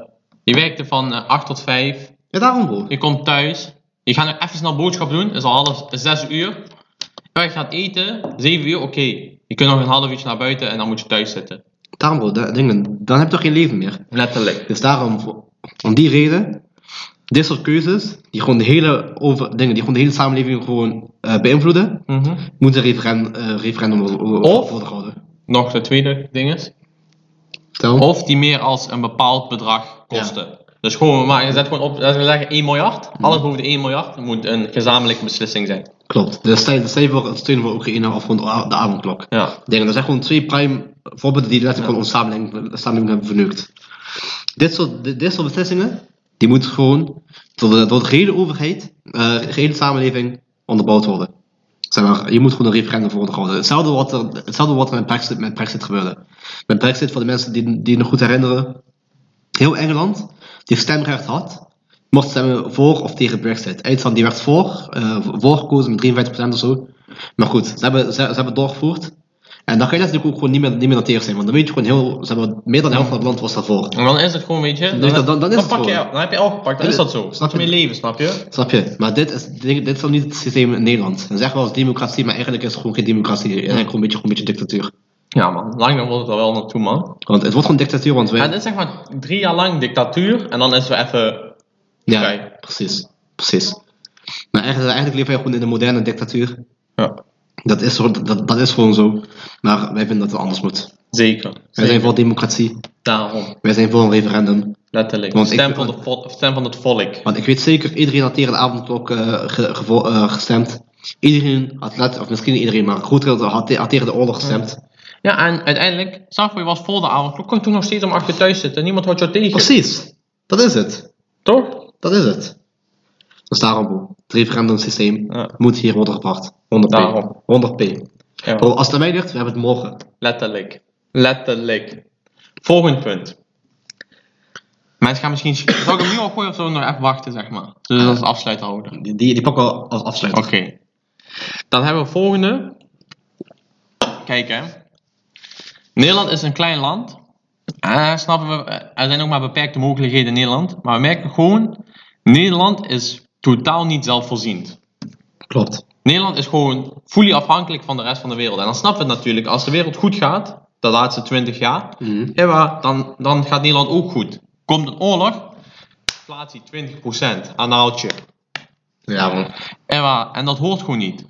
S1: je werkte van eh, 8 tot 5,
S2: Ja, daarom bro.
S1: Je komt thuis. Je gaat nog even snel boodschap doen. Het is al half het is zes uur. Ja, Je gaat eten. Zeven uur, oké. Je kunt nog een half uurtje naar buiten en dan moet je thuis zitten.
S2: Daarom bro, da- dingen, dan heb je toch geen leven meer.
S1: Letterlijk.
S2: Dus daarom, voor- om die reden, dit soort keuzes, die gewoon de hele, over, dingen, die gewoon de hele samenleving gewoon eh, beïnvloeden,
S1: Mhm.
S2: moet een referen, eh, referendum worden- worden
S1: Of-
S2: worden gehouden.
S1: Nog de tweede ding is.
S2: Stel,
S1: Of die meer als een bepaald bedrag kosten. Dus gewoon, maar je zet gewoon op, laten we zeggen 1 miljard. Alles boven de 1 miljard moet een gezamenlijke beslissing zijn.
S2: klopt. Dus stel stel je voor het steunen voor Oekraïne of gewoon de a- de avondklok.
S1: Ja.
S2: Dingen, dat zijn gewoon twee prime voorbeelden die letterlijk gewoon onze samenleving, samenleving hebben verneukt. Dit soort, dit, dit soort beslissingen, die moeten gewoon door de, door de gehele overheid, eh de gehele samenleving onderbouwd worden. Zeg maar, je moet gewoon een referendum voor worden gehouden. Hetzelfde wat er, hetzelfde wat er met, Brexit, met Brexit gebeurde. Met Brexit, voor de mensen die, die het nog goed herinneren, heel Engeland, die stemrecht had, mocht stemmen voor of tegen Brexit. Eindstand die werd voor, eh voor gekozen met 53% of zo. Maar goed, ze hebben, ze, ze hebben het doorgevoerd. En dan ga je natuurlijk ook gewoon niet meer, niet meer naar tegen zijn, want dan weet je gewoon heel, ze hebben, meer dan de helft van het land was daarvoor.
S1: En dan is het gewoon, weet je. Dan,
S2: dat- dan- dan is het
S1: pak je,
S2: gewoon.
S1: dan heb je al gepakt. Dan is dat zo.
S2: Snap
S1: Snap je
S2: je?
S1: mijn leven, snap je?
S2: Snap je? Maar dit is, dit dit is dan niet het systeem in Nederland. Dan zeggen we als democratie, maar eigenlijk is het gewoon geen democratie. Eigenlijk gewoon een beetje, gewoon een beetje dictatuur.
S1: Ja man, langzaam wordt het er wel naartoe man.
S2: Want het wordt gewoon dictatuur, want
S1: En
S2: wij...
S1: dit is zeg maar drie jaar lang dictatuur en dan is we even...
S2: Ja,
S1: Vrij.
S2: precies. Precies. Maar eigenlijk, eigenlijk leven wij gewoon in een moderne dictatuur.
S1: Ja,
S2: Dat is, zo- dat, dat is gewoon zo. Maar wij vinden dat het anders moet.
S1: zeker.
S2: Wij
S1: Zeker.
S2: zijn voor democratie.
S1: Daarom,
S2: Wij zijn voor een referendum.
S1: letterlijk.
S2: Want ik-
S1: stem, van de vo- stem van het volk.
S2: Want ik weet zeker, iedereen had tegen de avondklok eh, ge- gevo- eh, gestemd. Iedereen had let, of misschien niet iedereen, maar goed had, te- had tegen de oorlog gestemd.
S1: Ja, en uiteindelijk, Savoy was vol de avondklok, kon toen nog steeds om acht uur thuis zitten. Niemand houdt jou tegen.
S2: Precies. Dat is het.
S1: Toch?
S2: Dat is het. Dus daarom, bro. het referendumsysteem
S1: Ja.
S2: moet hier worden gebracht. 100 p.
S1: Daarom.
S2: 100 p.
S1: Ja,
S2: Bro, als het aan mij ligt, we hebben het morgen.
S1: letterlijk. Letterlijk. Volgend punt. Mensen gaan misschien... Zal ik hem nu al gooien of zullen we nog even wachten, zeg maar? Dus dat is afsluiten houden.
S2: Die, die, die pakken we als afsluiting.
S1: Oké. Dan hebben we volgende. Kijk hè. Nederland is een klein land. Eh, snappen we, eh, er zijn ook maar beperkte mogelijkheden in Nederland. Maar we merken gewoon, Nederland is totaal niet zelfvoorziend.
S2: Klopt.
S1: Nederland is gewoon fully afhankelijk van de rest van de wereld. En dan snappen we het natuurlijk, als de wereld goed gaat, de laatste 20 jaar,
S2: Mhm.
S1: ja, maar dan, dan gaat Nederland ook goed. Komt een oorlog, inflatie 20%, anaaltje.
S2: Ja, man.
S1: En, waar- en dat hoort gewoon niet.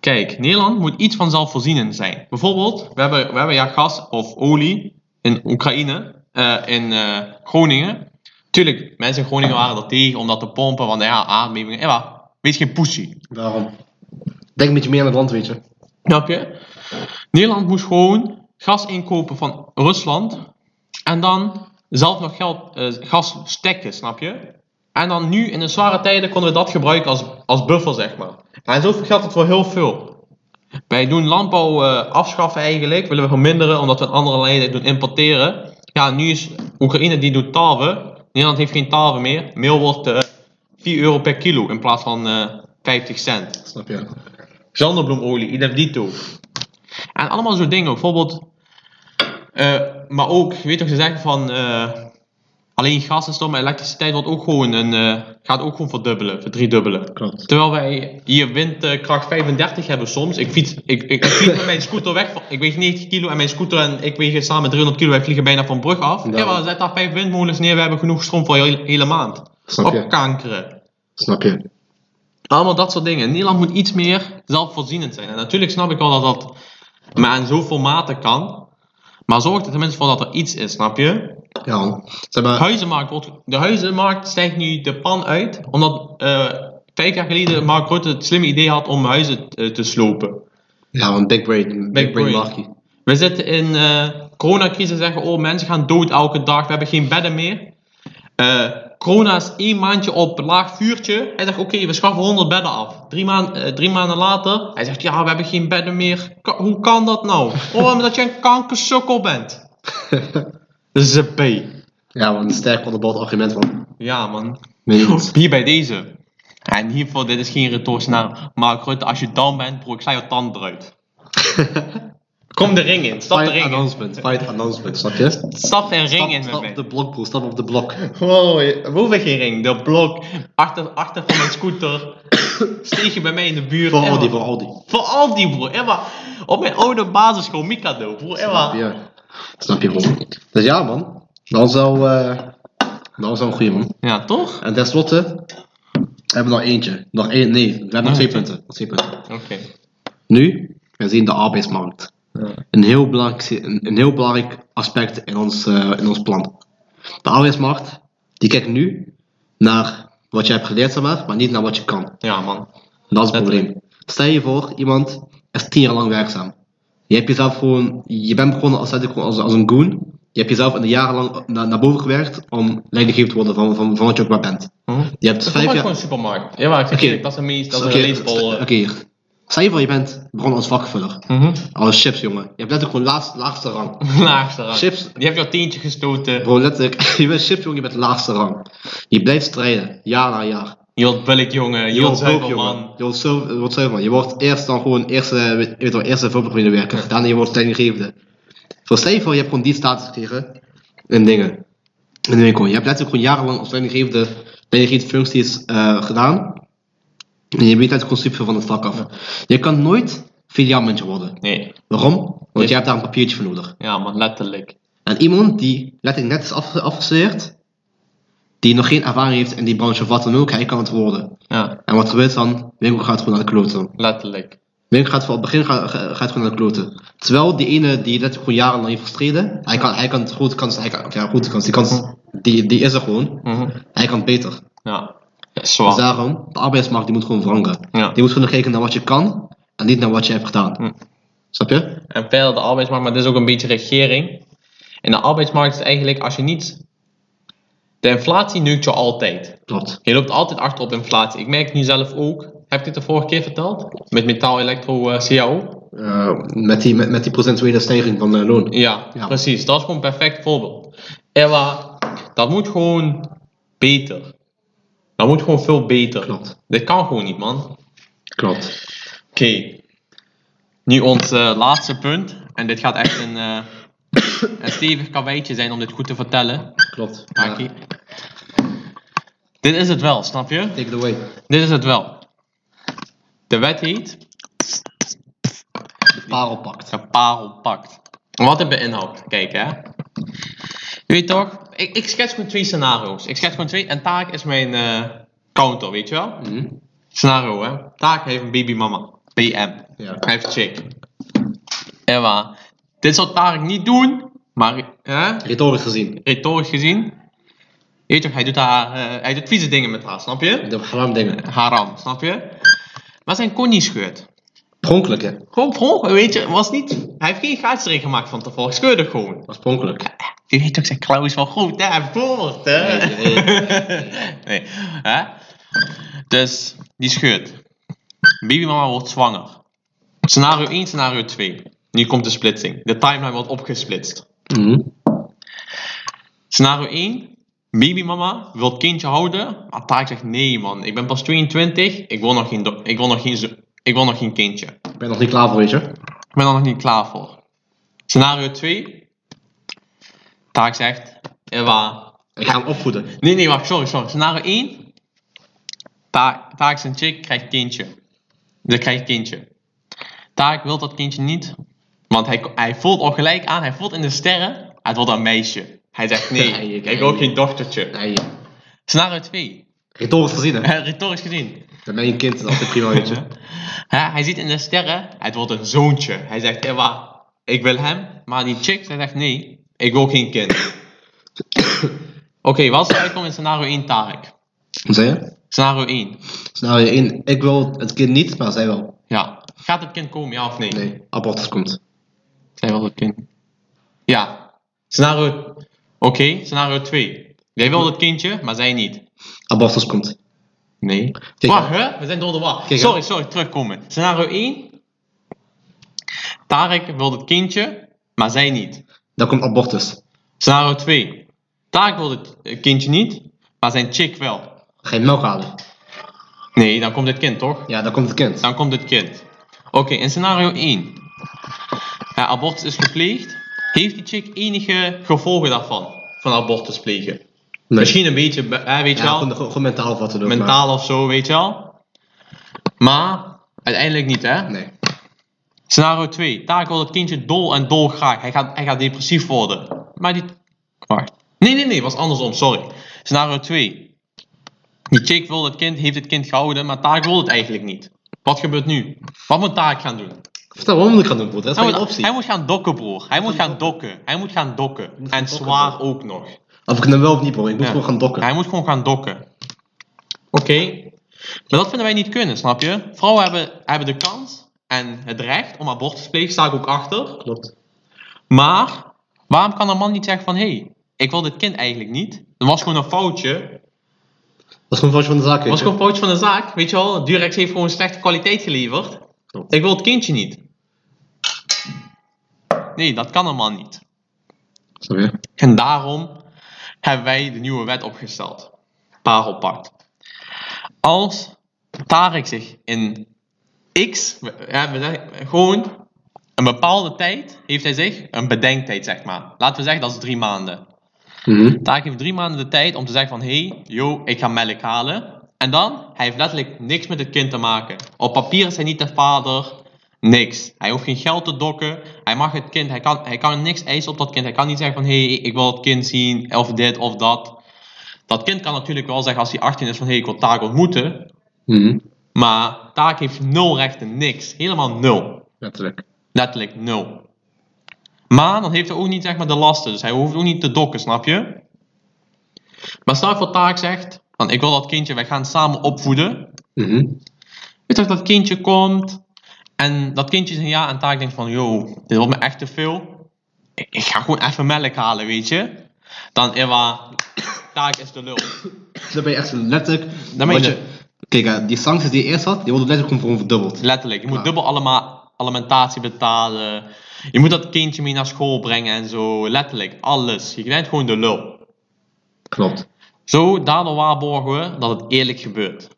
S1: Kijk, Nederland moet iets van zelfvoorzienend zijn. Bijvoorbeeld, we hebben, we hebben ja gas of olie in Oekraïne, eh, in eh, Groningen. Tuurlijk, mensen in Groningen waren er tegen om dat te pompen, want ja, aardbevingen. En waar, wees geen poesie.
S2: Daarom. Denk een beetje meer aan het land, weet je.
S1: Snap je? Nederland moest gewoon gas inkopen van Rusland en dan zelf nog geld, eh, gas stekken, snap je? En dan nu in de zware tijden konden we dat gebruiken als, als buffer, zeg maar. En zo geldt het voor heel veel. Wij doen landbouw eh, afschaffen eigenlijk, willen we verminderen omdat we een andere lijn doen importeren. Ja, nu is Oekraïne die doet tarwe. Nederland heeft geen tarwe meer. Meel wordt eh, 4 euro per kilo in plaats van eh 50 cent
S2: Snap je?
S1: zanderbloemolie, idem En allemaal zo'n dingen. Bijvoorbeeld, eh, maar ook, je weet toch, ze zeggen van eh, alleen gas en stoom, maar elektriciteit wordt ook gewoon een, eh, gaat ook gewoon verdubbelen, verdriedubbelen.
S2: Klopt.
S1: Terwijl wij hier windkracht 35 hebben soms. Ik fiets, ik, ik, ik fiets met mijn scooter weg. van- Ik weeg 90 kilo en mijn scooter en ik weeg samen 300 kilo. Wij vliegen bijna van brug af.
S2: Ja.
S1: Ja, maar zet daar vijf windmolens neer. We hebben genoeg stroom voor de hele, hele maand.
S2: Snap je?
S1: Opkankeren.
S2: Snap je?
S1: Allemaal dat soort dingen. Nederland moet iets meer zelfvoorzienend zijn. En natuurlijk snap ik wel dat dat maar aan zoveel mate kan. Maar zorg er tenminste voor dat er iets is, snap je?
S2: Ja, man. Zeg maar,
S1: De huizenmarkt, wordt, de huizenmarkt stijgt nu de pan uit. Omdat eh, vijf jaar geleden Mark Rutte het slimme idee had om huizen eh, te slopen.
S2: Ja, want Big Brain. Big,
S1: Big
S2: Brain
S1: brain.
S2: Markie.
S1: We zitten in eh coronacrisis zeggen, oh mensen gaan dood elke dag, we hebben geen bedden meer. Eh, corona is één maandje op laag vuurtje. Hij zegt, oké, we schaffen 100 bedden af. Drie, maan- eh, drie maanden later, hij zegt, ja, we hebben geen bedden meer. Ka- hoe kan dat nou? Oh, omdat je een kankersukkel bent. Zebé.
S2: Ja, man. Sterk onderbouwd argument, man.
S1: Ja, man.
S2: Meen je niet?
S1: Hier bij deze. En hiervoor, dit is geen retours naar Mark Rutte. Als je down bent, broek, sla je tand eruit. Kom de ring in, stap de
S2: Fight
S1: ring in.
S2: announcement. Fight announcement. Snap je? Stap,
S1: Stap een ring in met
S2: stap
S1: mij.
S2: op de blok, bro. Stap op de blok.
S1: Wow, je- we hoeven geen ring. De blok achter, achter van mijn scooter. Steeg je bij mij in de buurt.
S2: Voor
S1: Emma.
S2: Audi, voor Audi.
S1: Voor Aldi, bro. Emma. Op mijn oude basisschool, Mikado. Bro,
S2: Snap
S1: Emma.
S2: je? Snap je, bro. Dus ja, man. Dan zou... eh dan zou een goeie, man.
S1: Ja, toch?
S2: En tenslotte... Hebben we nog eentje. Nog één. Nee, we hebben nog twee punten. Nog twee punten.
S1: Oké.
S2: Nu, we zien de arbeidsmarkt.
S1: Ja.
S2: Een, heel belangrijk, een, een heel belangrijk aspect in ons, eh, in ons plan. De arbeidsmarkt, die kijkt nu naar wat je hebt geleerd, zeg maar, maar niet naar wat je kan.
S1: Ja, man.
S2: En dat is het
S1: Letterlijk.
S2: probleem. Stel je voor, iemand is tien jaar lang werkzaam. Je hebt jezelf gewoon, je bent begonnen als, als, als een goon. Je hebt jezelf een jaar lang na- naar boven gewerkt om leidinggevend te worden van, van, van wat je ook maar bent.
S1: Hm?
S2: Mhm. Je hebt
S1: Dat is
S2: vijf jaar...
S1: gewoon een supermarkt. Ja, maar ik zeg
S2: Oké.
S1: eerlijk, dat is een meest, dat is
S2: Oké,
S1: een relatable...
S2: st-
S1: eh.
S2: Oké, hier. stel je voor, je bent begonnen als vakvuller.
S1: Mhm.
S2: Als Oh, chips, jongen. Je hebt letterlijk gewoon laatst, laagste rang.
S1: Laagste rang.
S2: Chips.
S1: Die heb je al tientje gestoten.
S2: Bro, letterlijk. Je bent chips, jongen. Je bent laagste rang. Je blijft strijden. Jaar na jaar.
S1: Jod Bulk, jongen.
S2: Je
S1: Jod
S2: wordt hulp,
S1: Zuivelman.
S2: jongen. Je wordt zelf- je wordt zelf, man. Je wordt eerst dan gewoon eerste, weet, je weet wel, eerste vulpmedewerker. Daarna je wordt leidinggevende. Voor stel je voor, je hebt gewoon die status gekregen. En dingen. En winkel. Je hebt letterlijk gewoon jarenlang als leidinggevende, leidinggevende functies eh, gedaan. En je weet eigenlijk gewoon super veel van het vak af. Je kan nooit filiaalmunt worden.
S1: Nee.
S2: Waarom? Want
S1: Yes.
S2: je hebt daar een papiertje voor nodig.
S1: Ja, maar letterlijk.
S2: En iemand die letterlijk net is afge- afgestudeerd, die nog geen ervaring heeft in die branche of wat dan ook, hij kan het worden.
S1: Ja,
S2: En wat gebeurt dan? Winkel gaat gewoon naar de kloten.
S1: letterlijk.
S2: Winkel gaat voor het begin gaat, gaat gewoon naar de kloten. Terwijl die ene die net gewoon jarenlang heeft gestreden, hij kan, hij kan het grote kans, hij kan, ja, grote kans, die kans, die, die is er gewoon.
S1: Mhm.
S2: Hij kan het beter.
S1: Ja. Ja,
S2: Dus
S1: Zwaar.
S2: daarom, de arbeidsmarkt die moet gewoon veranderen.
S1: Ja.
S2: Die moet gewoon kijken naar wat je kan en niet naar wat je hebt gedaan.
S1: Hm.
S2: Snap je?
S1: En verder de arbeidsmarkt, maar dit is ook een beetje regering. En de arbeidsmarkt is eigenlijk als je niet. De inflatie neukt je altijd.
S2: Klopt.
S1: Je loopt altijd achter op inflatie. Ik merk het nu zelf ook. Heb ik dit de vorige keer verteld? Met metaal, elektro, eh, CAO?
S2: Eh, met, die, met, met die procentuele stijging van eh, loon.
S1: Ja,
S2: Ja.
S1: precies. Dat is gewoon een perfect voorbeeld. Ewa, dat moet gewoon beter. Dat moet gewoon veel beter.
S2: Klopt.
S1: Dit kan gewoon niet, man. Oké.
S2: Klopt.
S1: Nu ons eh, laatste punt. En dit gaat echt een, eh, een stevig karweitje zijn om dit goed te vertellen.
S2: Klopt. Eh,
S1: Aki. Dit is het wel, snap je?
S2: Take it away.
S1: Dit is het wel. De wet heet
S2: De parel pakt.
S1: de parel pakt. En Wat het beinhoudt. Kijk hè. Je weet toch, ik, ik schets gewoon twee scenario's. Ik schets gewoon twee en taak is mijn eh, counter, weet je wel?
S2: Mhm.
S1: Scenario hè. Taak heeft een babymama. BM.
S2: Ja.
S1: Hij heeft chick. Ewa. Dit zou Taak niet doen, maar hè,
S2: Retorisch gezien.
S1: retorisch gezien. Je weet toch, hij doet, haar, eh, hij doet vieze dingen met haar, snap je?
S2: De haram dingen.
S1: Haram, snap je? Maar zijn kon niet scheurt.
S2: Pronkelijk hè.
S1: Gewoon per ongeluk, weet je, was niet. Hij heeft geen gaatsering gemaakt van tevoren, ik scheurde gewoon.
S2: Was pronkelijk.
S1: Je weet ook, zijn klauw is wel goed, hè? Hij voelt, hè?
S2: Nee,
S1: nee. Hè? Dus, die scheurt. Babymama wordt zwanger. Scenario 1, scenario 2. Nu komt de splitsing. De timeline wordt opgesplitst.
S2: Mhm.
S1: Scenario 1. Babymama wil het kindje houden. Maar Taak zegt, nee man, ik ben pas 22. Ik wil nog geen, do- ik wil nog geen, zo- ik wil nog geen kindje.
S2: Ik ben nog niet klaar voor, weet je.
S1: Ik ben er nog niet klaar voor. Scenario 2. Taak zegt. Ewa.
S2: Ik ga hem opvoeden.
S1: Nee, nee, wacht, sorry, sorry. Scenario 1. Taak, taak is een chick, krijgt kindje. Ze krijgt kindje. Taak wil dat kindje niet. Want hij, hij voelt al gelijk aan, hij voelt in de sterren. Het wordt een meisje. Hij zegt
S2: Nee,
S1: nee,
S2: ik-
S1: ik wil ook geen dochtertje.
S2: Nee.
S1: Scenario 2.
S2: Retorisch gezien hè.
S1: Retorisch gezien.
S2: Dan ben je een kind, dat is altijd prima, weet je.
S1: Hè, hij ziet in de sterren, het wordt een zoontje. Hij zegt, Ewa, ik wil hem. Maar die chick, zij zegt, nee, ik wil geen kind. Oké, wat zou uitkomen in scenario 1, Tarek?
S2: Wat zei je?
S1: Scenario 1.
S2: Scenario 1. Ik wil het kind niet, maar zij wel.
S1: Ja. Gaat het kind komen, ja of nee?
S2: Nee, abortus komt.
S1: Zij wil het kind. Ja. Scenario... Oké, scenario 2. Jij wil het kindje, maar zij niet.
S2: Abortus komt.
S1: Nee.
S2: Kijk,
S1: Wacht, hè? We zijn door de war.
S2: Kijk,
S1: sorry, sorry, terugkomen. Scenario 1. Tarek wil het kindje, maar zij niet.
S2: Dan komt abortus.
S1: Scenario 2. Taak wil het eh, kindje niet, maar zijn chick wel.
S2: Ga je melk halen?
S1: Nee, dan komt het kind toch?
S2: Ja, dan komt het kind.
S1: Dan komt het kind. Oké, in scenario 1. Ja, abortus is gepleegd. Heeft die chick enige gevolgen daarvan? Van abortus plegen?
S2: Nee.
S1: Misschien een beetje, be- hè, weet je
S2: Ja,
S1: wel?
S2: gewoon, gewoon- gewoon mentaal of wat dan ook. maar-
S1: Mentaal of zo, weet je wel? Maar uiteindelijk niet, hè?
S2: Nee.
S1: Scenario 2. Taak wil het kindje dol en dol graag. Hij gaat, hij gaat depressief worden. Maar die... Wacht. Nee, nee, nee. was andersom. Sorry. Scenario 2. Die chick wil het kind, heeft het kind gehouden, maar Taak wil het eigenlijk niet. Wat gebeurt nu? Wat moet Taak gaan doen?
S2: Vertel waarom ik ga doen, broer. Dat is
S1: Hij
S2: mijn
S1: moet,
S2: optie.
S1: Nou, hij moet gaan dokken, broer. Hij moet gaan dokken. Hij moet gaan dokken.
S2: gaan
S1: En
S2: dokken,
S1: zwaar ook nog.
S2: Of ik hem wel of niet, broer. Ik moet
S1: Ja.
S2: gewoon gaan dokken.
S1: Hij moet gewoon gaan dokken. Oké. Maar dat vinden wij niet kunnen, snap je? Vrouwen hebben, hebben de kans en het recht om abortus te plegen. Sta ik ook achter.
S2: Klopt.
S1: Maar waarom kan een man niet zeggen van hé, hey, ik wil dit kind eigenlijk niet? Dat was gewoon een foutje.
S2: Dat is gewoon foutje van de zaak, weet
S1: Dat was
S2: je.
S1: gewoon een foutje van de zaak. Weet je wel, Durex heeft gewoon slechte kwaliteit geleverd.
S2: Klopt.
S1: Ik wil het kindje niet. Nee, dat kan een man niet.
S2: Snap je?
S1: En daarom hebben wij de nieuwe wet opgesteld. Parelpact. Als Tarek zich in x, ja, we zeggen, gewoon een bepaalde tijd, heeft hij zich een bedenktijd, zeg maar. Laten we zeggen dat is drie maanden.
S2: Mhm.
S1: Taak heeft drie maanden de tijd om te zeggen van, hey, yo, ik ga melk halen. En dan, hij heeft letterlijk niks met het kind te maken. Op papier is hij niet de vader, Niks. Hij hoeft geen geld te dokken. Hij mag het kind, hij kan, hij kan niks eisen op dat kind. Hij kan niet zeggen van hé, hey, ik wil het kind zien, of dit of dat. Dat kind kan natuurlijk wel zeggen als hij 18 is van hé, hey, ik wil Taak ontmoeten.
S2: Mhm.
S1: Maar Taak heeft nul rechten, niks. Helemaal nul.
S2: Letterlijk.
S1: Letterlijk nul. Maar dan heeft hij ook niet zeg maar, de lasten, dus hij hoeft ook niet te dokken, snap je? Maar stel voor Taak zegt, van ik wil dat kindje, wij gaan samen opvoeden.
S2: Mhm.
S1: Weet dat dat kindje komt. En dat kindje is een jaar aan taak denkt van, yo, dit wordt me echt te veel. Ik, ik ga gewoon even melk halen, weet je. Dan Ewa, taak is de lul.
S2: Dan ben je echt letterlijk.
S1: Dan ben je
S2: want
S1: de-
S2: Kijk, eh, die sancties die je eerst had, die worden letterlijk gewoon verdubbeld.
S1: Letterlijk, je moet
S2: Ja.
S1: dubbel allemaal alimentatie betalen. Je moet dat kindje mee naar school brengen en zo. Letterlijk, alles. Je bent gewoon de lul.
S2: Klopt.
S1: Zo, daardoor waarborgen we dat het eerlijk gebeurt.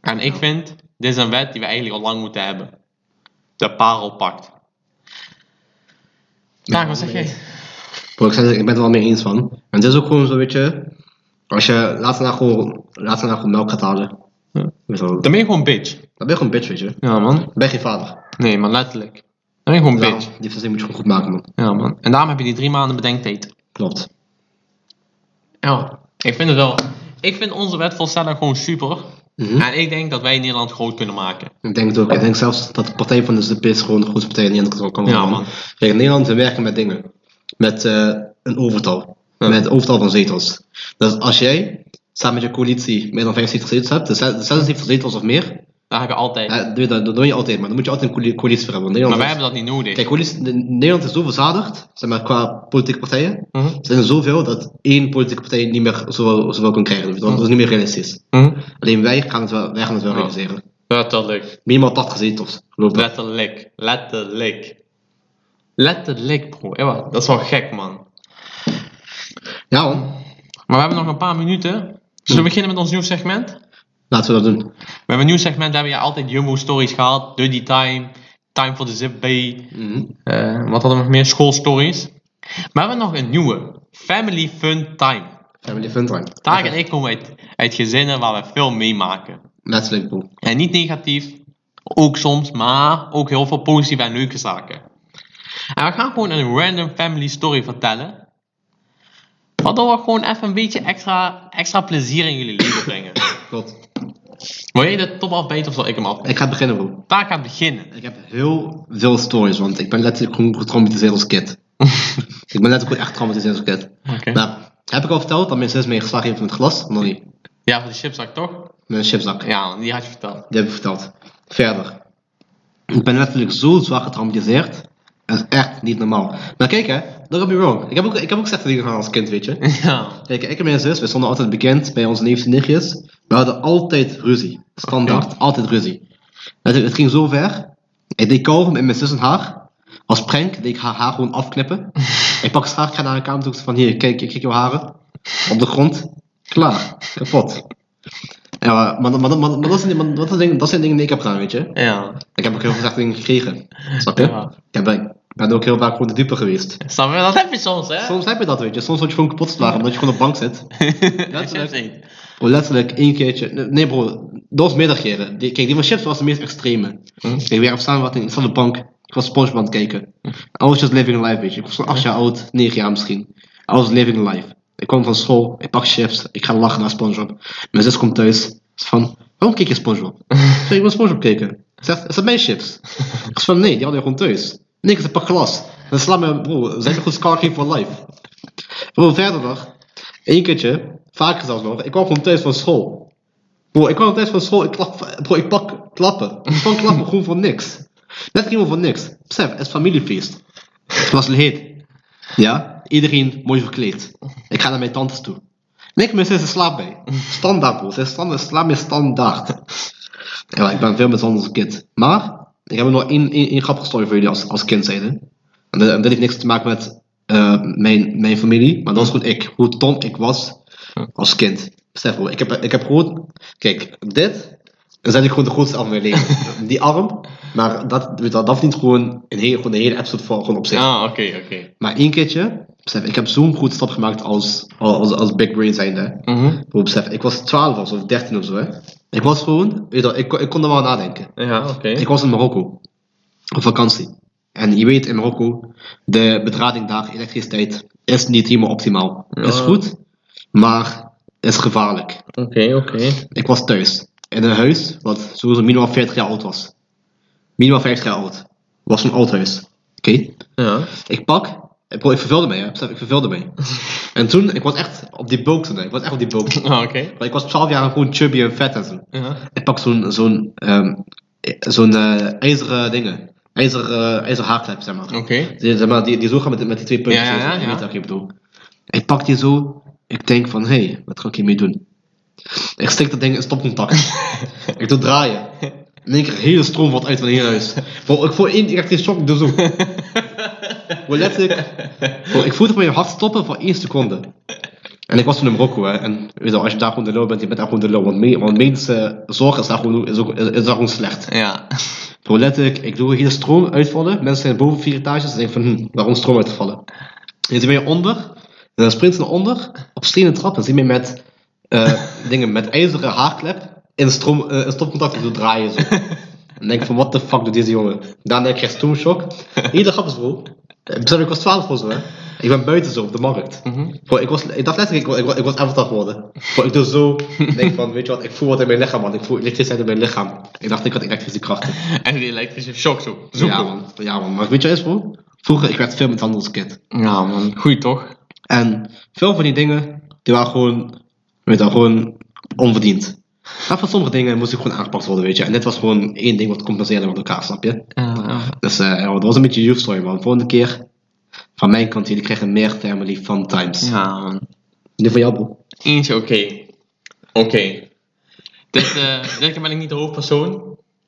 S1: En ik vind, dit is een wet die we eigenlijk al lang moeten hebben. De parelpact. Taak, wat zeg jij?
S2: Bro, ik, zeg, ik ben het wel mee eens van. En het is ook gewoon zo, weet je. Als je laatst na gewoon, laatst na gewoon melk gaat halen.
S1: Ja.
S2: weet je wel,
S1: Dan ben je gewoon bitch.
S2: Dan ben je gewoon een bitch, weet je. Dan
S1: Ja, man.
S2: ben je geen vader.
S1: Nee, maar letterlijk. Dan ben je gewoon
S2: Daarom,
S1: bitch.
S2: Die verzinning moet je gewoon goed maken, man.
S1: Ja, man. En daarom heb je die drie maanden bedenktijd.
S2: Klopt.
S1: Ja, ik vind het wel. Ik vind onze wetvoorstellen gewoon super.
S2: Mhm.
S1: En ik denk dat wij Nederland groot kunnen maken.
S2: Ik denk het ook. Ik denk zelfs dat de Partij van de ZP's gewoon de grootste partij in Nederland kan worden.
S1: Ja, man.
S2: Kijk, in Nederland we werken met dingen. Met eh, een overtal.
S1: Ja.
S2: Met een overtal van zetels. Dus als jij samen met je coalitie meer dan 75 zetels hebt, dus 76 zetels of meer,
S1: Dat heb je altijd.
S2: hè, doe je dat, dat doe je altijd. Maar dan moet je altijd een coali- coalitie voor hebben. Want
S1: maar
S2: Nederland
S1: wij
S2: is-
S1: hebben dat niet nodig.
S2: Kijk, coalitie, de- Nederland is zo verzadigd, zeg maar, qua politieke partijen.
S1: Mhm.
S2: Er zijn er zoveel dat één politieke partij niet meer zoveel, zoveel kan krijgen. Dat is niet meer realistisch.
S1: Mhm.
S2: Alleen wij gaan het wel, wij gaan het wel
S1: Ja.
S2: realiseren.
S1: Letterlijk.
S2: Minimaal 80 zetels, geloof ik.
S1: Letterlijk. Letterlijk. Letterlijk, bro. Ewa, dat is wel gek, man.
S2: Ja, man.
S1: Maar we hebben nog een paar minuten. Zullen we beginnen met ons nieuw segment?
S2: Laten we dat doen.
S1: We hebben een nieuw segment, daar hebben je altijd Jumbo Stories gehad. Dirty Time, Time for the Zip Bay. Eh, wat hadden we nog meer? Schoolstories. Maar we hebben nog een nieuwe. Family Fun Time.
S2: Family fun time.
S1: Taak en ik komen uit, uit gezinnen waar we veel meemaken.
S2: Letterlijk, bro.
S1: En niet negatief, ook soms, maar ook heel veel positieve en leuke zaken. En we gaan gewoon een random family story vertellen. Waardoor we gewoon even een beetje extra, extra plezier in jullie leven brengen.
S2: Klopt.
S1: Wil jij de top afbeten of zal ik hem af?
S2: Ik ga beginnen, bro.
S1: Taak gaat beginnen.
S2: Ik heb heel veel stories, want ik ben letterlijk gewoon getraumatiseerd als kind. ik ben letterlijk gewoon echt getraumatiseerd als kind.
S1: Oké.
S2: Nou, heb ik al verteld dat mijn zus mee geslagen heeft met het glas? Nog niet.
S1: Ja, van de chipzak toch?
S2: Met een chipzak.
S1: Ja, die had je verteld.
S2: Die heb ik verteld. Verder. Ik ben letterlijk zo zwaar getraumatiseerd. Dat is echt niet normaal. Maar kijk hè, don't get me wrong. Ik heb ook, ik heb ook slechte dingen gedaan als kind, weet je.
S1: Ja.
S2: Kijk, ik en mijn zus, we stonden altijd bekend bij onze neefjes en nichtjes. We hadden altijd ruzie. Standaard, altijd ruzie. Het, het ging zo ver. Ik deed kalm met mijn zus en haar. Als prank deed ik haar haar gewoon afknippen. ik pak haar, ik ga naar haar kamer toe. ik zeg van hier, kijk, ik kijk jouw haren. Op de grond. Klaar. Kapot. Ja, maar, maar, maar, maar, maar dat, zijn, maar dat, zijn dingen, dat zijn dingen die ik heb gedaan, weet je.
S1: Ja.
S2: Ik heb ook heel veel slechte dingen gekregen. Snap je?
S1: Ja.
S2: Ik, heb, ik ben ook heel vaak gewoon de dupe geweest.
S1: Snap je? Dat heb je soms, hè?
S2: Soms heb je dat, weet je. Soms word je gewoon kapot geslagen omdat je gewoon op de bank zit.
S1: dat is het.
S2: Bro, letterlijk één keertje. Nee, Nee, bro, dat was meerdere keren. Die- kijk, die van chips was de meest extreme.
S1: Hm.
S2: Ik weer op staan wat in ik zat op de bank. Ik was SpongeBob aan het kijken. I was just living life, weet je. Ik was zo'n 8 jaar oud, 9 jaar misschien. I was living life. Ik kwam van school, ik pak chips, ik ga lachen naar SpongeBob. Mijn zus komt thuis. Ze is van, waarom kijk je SpongeBob? Ik zeg, ik wil SpongeBob kijken. Ze zegt, is dat mijn chips? Ik zeg van, nee, die hadden we gewoon thuis. Nee, ik zeg, pak glas. Dan sla me, bro, zijn we goed scarring for life. Bro, verder nog. Eén keertje, vaker zelfs nog, ik kwam gewoon thuis van school. Bro, ik kwam thuis van school, ik, klap, bro, ik pak klappen. Ik pak klappen gewoon voor niks. Net helemaal voor niks. Besef, het is familiefeest. Het was heet. Ja, iedereen mooi verkleed. Ik ga naar mijn tantes toe. Niks, mijn zus is slaap bij. Standaard, bro. Ze is standaard, slaap is standaard. Ja, ik ben veel met zonder als kind. Maar, ik heb nog één, één, één grappige story voor jullie als, als kind zijnde. En dat, en dat heeft niks te maken met eh, mijn, mijn familie, maar dat is gewoon ik. Hoe dom ik was als kind. Besef bro, ik heb, ik heb gewoon... Kijk, dit is eigenlijk gewoon de grootste arm in mijn leven. Die arm, maar dat, weet je wel, dat verdient gewoon een hele, gewoon een hele episode voor gewoon op zich.
S1: Ah, oké, oké.
S2: Maar één keertje, besef, ik heb zo'n goed stap gemaakt als, als, als Big Brain zijnde.
S1: Mhm.
S2: Bro, besef, ik was 12 of zo, of 13 of zo. Hè. Ik was gewoon, weet je, wel, ik, kon- ik kon er wel aan nadenken.
S1: Ja, oké.
S2: Ik was in Marokko. Op vakantie. En je weet in Marokko, de bedrading daar, elektriciteit, is niet helemaal optimaal.
S1: Ja.
S2: Is goed, maar is gevaarlijk.
S1: Oké, oké.
S2: Ik was thuis. In een huis wat sowieso minimaal 40 jaar oud was. Minimaal 50 jaar oud. Was een oud huis. Oké.
S1: Ja.
S2: Ik pak. Ik, bro, ik verveelde mij, hè. Besef, Ik verveelde mij. en toen, ik was echt op die bulk toen. hè. Ik was echt op die bulk.
S1: Ah, Oké.
S2: Maar ik was 12 jaar gewoon chubby en vet en zo.
S1: Ja.
S2: Ik pak zo'n zo'n ehm, eh, zo'n eh, ijzeren dingen. IJzeren, eh, ijzeren haarklep, zeg maar.
S1: Oké.
S2: Die, zeg maar, die, die zo gaan met, die- met die twee puntjes.
S1: Ja, ja, ja,
S2: zo, Je
S1: ja.
S2: weet wat ik bedoel. Ik pak die zo. Ik denk van, hé, hey, wat ga ik hiermee doen? Ik stik dat ding in stopcontact. ik doe draaien. In één keer een hele stroom valt uit van hier huis. Voor, ik voel één directe shock, dus zo. Wel letterlijk. Bro, ik voelde mijn hart stoppen voor één seconde. En ik was toen in Marokko, hè. En weet je wel, als je daar gewoon de low bent, je bent daar gewoon de low. Want, me, want medische zorg is daar gewoon, is ook, is, is daar gewoon slecht.
S1: Ja.
S2: Bro, letterlijk, ik doe hier stroom uitvallen. Mensen zijn boven vier etages en denken van, hm, waarom stroom uitvallen? En dan ben je onder, en dan sprint ze naar onder, op stenen trap, en zie je mij met eh, dingen, met ijzeren haarklep in stroom, eh, in stopcontact te draaien. Zo. En denk van, what the fuck doet deze jongen? Daarna krijg je stoomshock. Iedere grap is bro. Eh, Besef, ik was 12 of zo, hè. Ik ben buiten zo, op de markt. Bro, ik, was, ik dacht letterlijk, ik, wa- ik, wa- ik was avatar geworden. Bro, ik doe zo, ik denk van, weet je wat, ik voel wat in mijn lichaam, man. Ik voel elektriciteit in mijn lichaam. Ik dacht, ik had elektrische krachten.
S1: En die elektrische shock zo. Zoek
S2: Ja man, ja man, maar weet je wat is bro? Vroeger, ik werd veel met handelskit.
S1: ja, man. Goed toch?
S2: En veel van die dingen, die waren gewoon, weet je wel, gewoon onverdiend. Maar van sommige dingen moest ik gewoon aangepakt worden, weet je. En dit was gewoon één ding wat compenseerde met elkaar, snap je? Dus eh ja, het was een beetje youth story man. Volgende keer, van mijn kant, jullie krijgen meer family fun times.
S1: Ja, man.
S2: Nu van jou bro.
S1: Eentje oké. Oké. Dit, eh, dit keer ben ik niet de hoofdpersoon.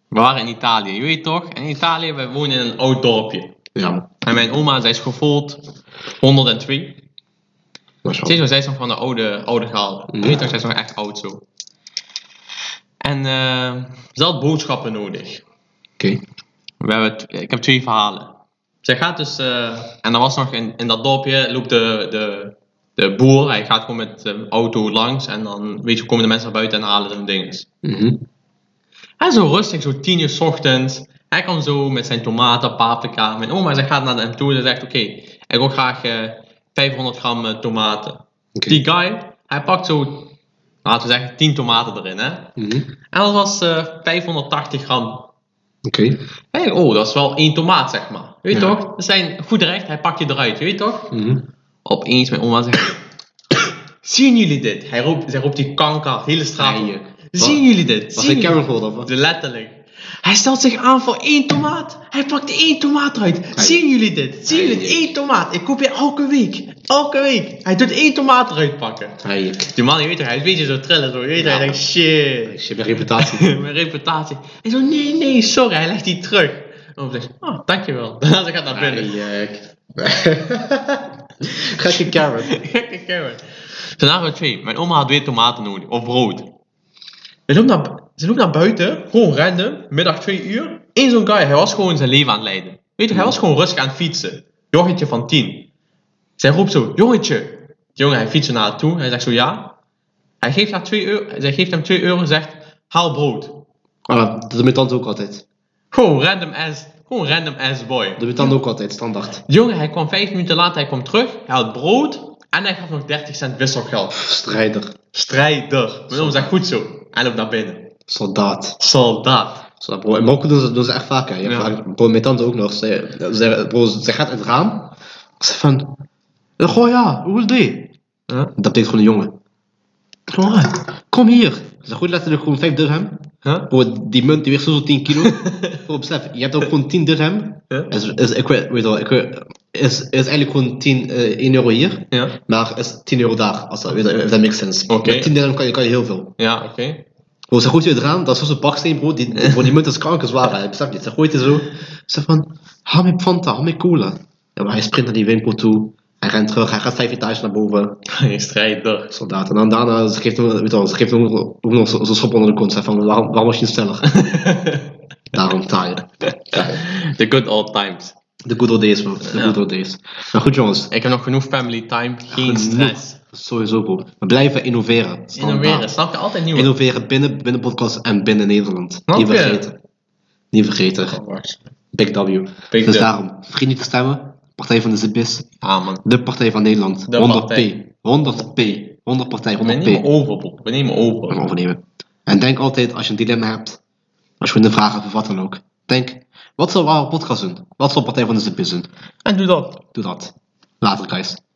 S1: We waren in Italië, je weet toch? In Italië, wij wonen in een oud dorpje.
S2: Ja man,
S1: En mijn oma, zij is gevoeld 102.
S2: dat is wel-
S1: Zij is, nog- zij is nog van de oude, oude gehaald. Je
S2: Ja.
S1: weet toch, zij is nog echt oud zo. En eh, ze had boodschappen nodig.
S2: Oké.
S1: We hebben t- ik heb twee verhalen. Zij gaat dus, eh, en er was nog in, in dat dorpje, loopt de, de, de boer, hij gaat gewoon met de auto langs en dan weet je, komen de mensen naar buiten en halen hun dinges.
S2: Mhm.
S1: Hij zo rustig, zo tien uur 's ochtends. Hij kwam zo met zijn tomaten, paprika. Mijn oma zij gaat naar hem toe en zegt: Oké, ik wil graag eh, 500 gram eh, tomaten.
S2: Oké.
S1: Die guy, hij pakt zo, laten we zeggen, 10 tomaten erin. Hè?
S2: Mhm.
S1: En dat was eh, 580 gram
S2: Oké.
S1: Hey, oh, dat is wel één tomaat, zeg maar. Je Weet
S2: Ja.
S1: toch? Ze zijn goed recht, hij pakt je eruit, je weet toch?
S2: Mhm.
S1: Opeens mijn oma zegt... Zien jullie dit? Hij roept, zij roept die kanker, hele straat.
S2: Nee,
S1: op.
S2: joh.
S1: Zien
S2: Wat-
S1: jullie dit?
S2: Was
S1: Zien
S2: ik
S1: jullie-
S2: Karen geworden of wat?
S1: De Letterlijk. Hij stelt zich aan voor één tomaat. Hij pakt één tomaat eruit. Zien jullie dit? Zien jullie dit?
S2: Ai.
S1: Eén tomaat. Ik koop je elke week. Elke week. Hij doet één tomaat eruit pakken.
S2: Hey,
S1: Die man, je weet toch, hij is een beetje zo trillen. Zo, je weet toch,
S2: Ja.
S1: hij denkt, shit.
S2: ik heb mijn reputatie.
S1: mijn reputatie. Hij zo, nee, nee, sorry. Hij legt die terug. En dan zegt, oh, dankjewel. Daarna ze gaat naar binnen.
S2: Eik. Ga je carrot.
S1: Gekke kerel. Daarna gaat twee. Mijn oma had weer tomaten nodig. Of brood. Ze loopt naar, ze loopt naar buiten. Gewoon random. Middag twee uur. Eén zo'n guy. Hij was gewoon zijn leven aan het leiden. Weet je, hij was gewoon rustig aan het fietsen. Jongetje van tien. Zij roept zo, jongetje. Die jongen, hij fietst zo naar haar toe. Hij zegt zo, ja. Hij geeft, haar twee euro, zij geeft hem 2 euro en zegt, haal brood.
S2: Ah, dat doet mijn tante ook altijd.
S1: Gewoon random ass, gewoon random ass boy.
S2: Dat doet mijn tante ook altijd, standaard.
S1: Jongen, hij kwam vijf minuten later, hij kwam terug, hij had brood en hij gaf nog 30 cent wisselgeld.
S2: Strijder,
S1: Strijder. Mijn oom zegt goed zo. Hij loopt naar binnen.
S2: soldaat.
S1: Soldaat.
S2: Soldaat, bro. In Marokko doen ze, doen ze echt vaak, hè. Je hebt
S1: Ja.
S2: vaak- bro, mijn tante ook nog. Zij, zij, bro, zij gaat uit het raam. Ik zeg van... Goh ja, hoe is die?
S1: Huh?
S2: Dat deed gewoon een jongen. Gewoon, "Ah, kom hier. Ze goed letterlijk gewoon 5 dirham.
S1: Huh?
S2: Bro, die munt die weegt zo 10 kilo. bro, besef, je hebt ook gewoon 10 dirham.
S1: Ja.
S2: Is, is, ik weet, weet wel, ik weet- is, is eigenlijk gewoon 10, eh, 1 euro hier.
S1: Ja.
S2: Maar is 10 euro daar, als dat, weet je, if that makes sense.
S1: Oké.
S2: Met 10 dirham kan je, kan je heel veel.
S1: Ja, oké.
S2: Bro, ze gooit je het raam, dat is zo'n baksteen, bro. Die, bro, die munt is kankerzwaar, ik besef niet. Ze gooit je zo. Ze van, haal mijn Fanta, haal mijn cola. Ja, maar hij sprint naar die winkel toe. Hij rent terug, hij gaat vijf etages naar boven.
S1: Hij strijder.
S2: Soldaat. En dan daarna, ze geeft hem, weet je wel, ze geeft hem ook nog zo- zo'n schop onder de kont. Ze van, waarom, waarom was je niet sneller? Daarom taaien.
S1: The good old times.
S2: De good old days, man. De
S1: Ja.
S2: good old days. Maar goed, jongens.
S1: Ik heb nog genoeg family time, geen
S2: Genoeg.
S1: stress.
S2: sowieso bro. We blijven innoveren. standaard.
S1: Innoveren, snap je? Altijd nieuwe.
S2: Innoveren binnen, binnen podcast en binnen Nederland.
S1: Snap
S2: Niet
S1: je?
S2: vergeten. Niet vergeten.
S1: Oh, wacht.
S2: Big W.
S1: Big
S2: dus
S1: W.
S2: daarom, vergeet niet te stemmen. Partij van de Zibis.
S1: Ah, man.
S2: De Partij van Nederland.
S1: De
S2: 100
S1: partij.
S2: P. 100 P. 100 Partij,
S1: We
S2: 100 P.
S1: nemen over, bro. We nemen over.
S2: Gaan overnemen. En denk altijd, als je een dilemma hebt, als je een vraag hebt of wat dan ook. Denk, wat zal Ware Podcast doen? Wat zal Partij van de Zibis doen?
S1: En doe dat.
S2: Doe dat. Later, guys.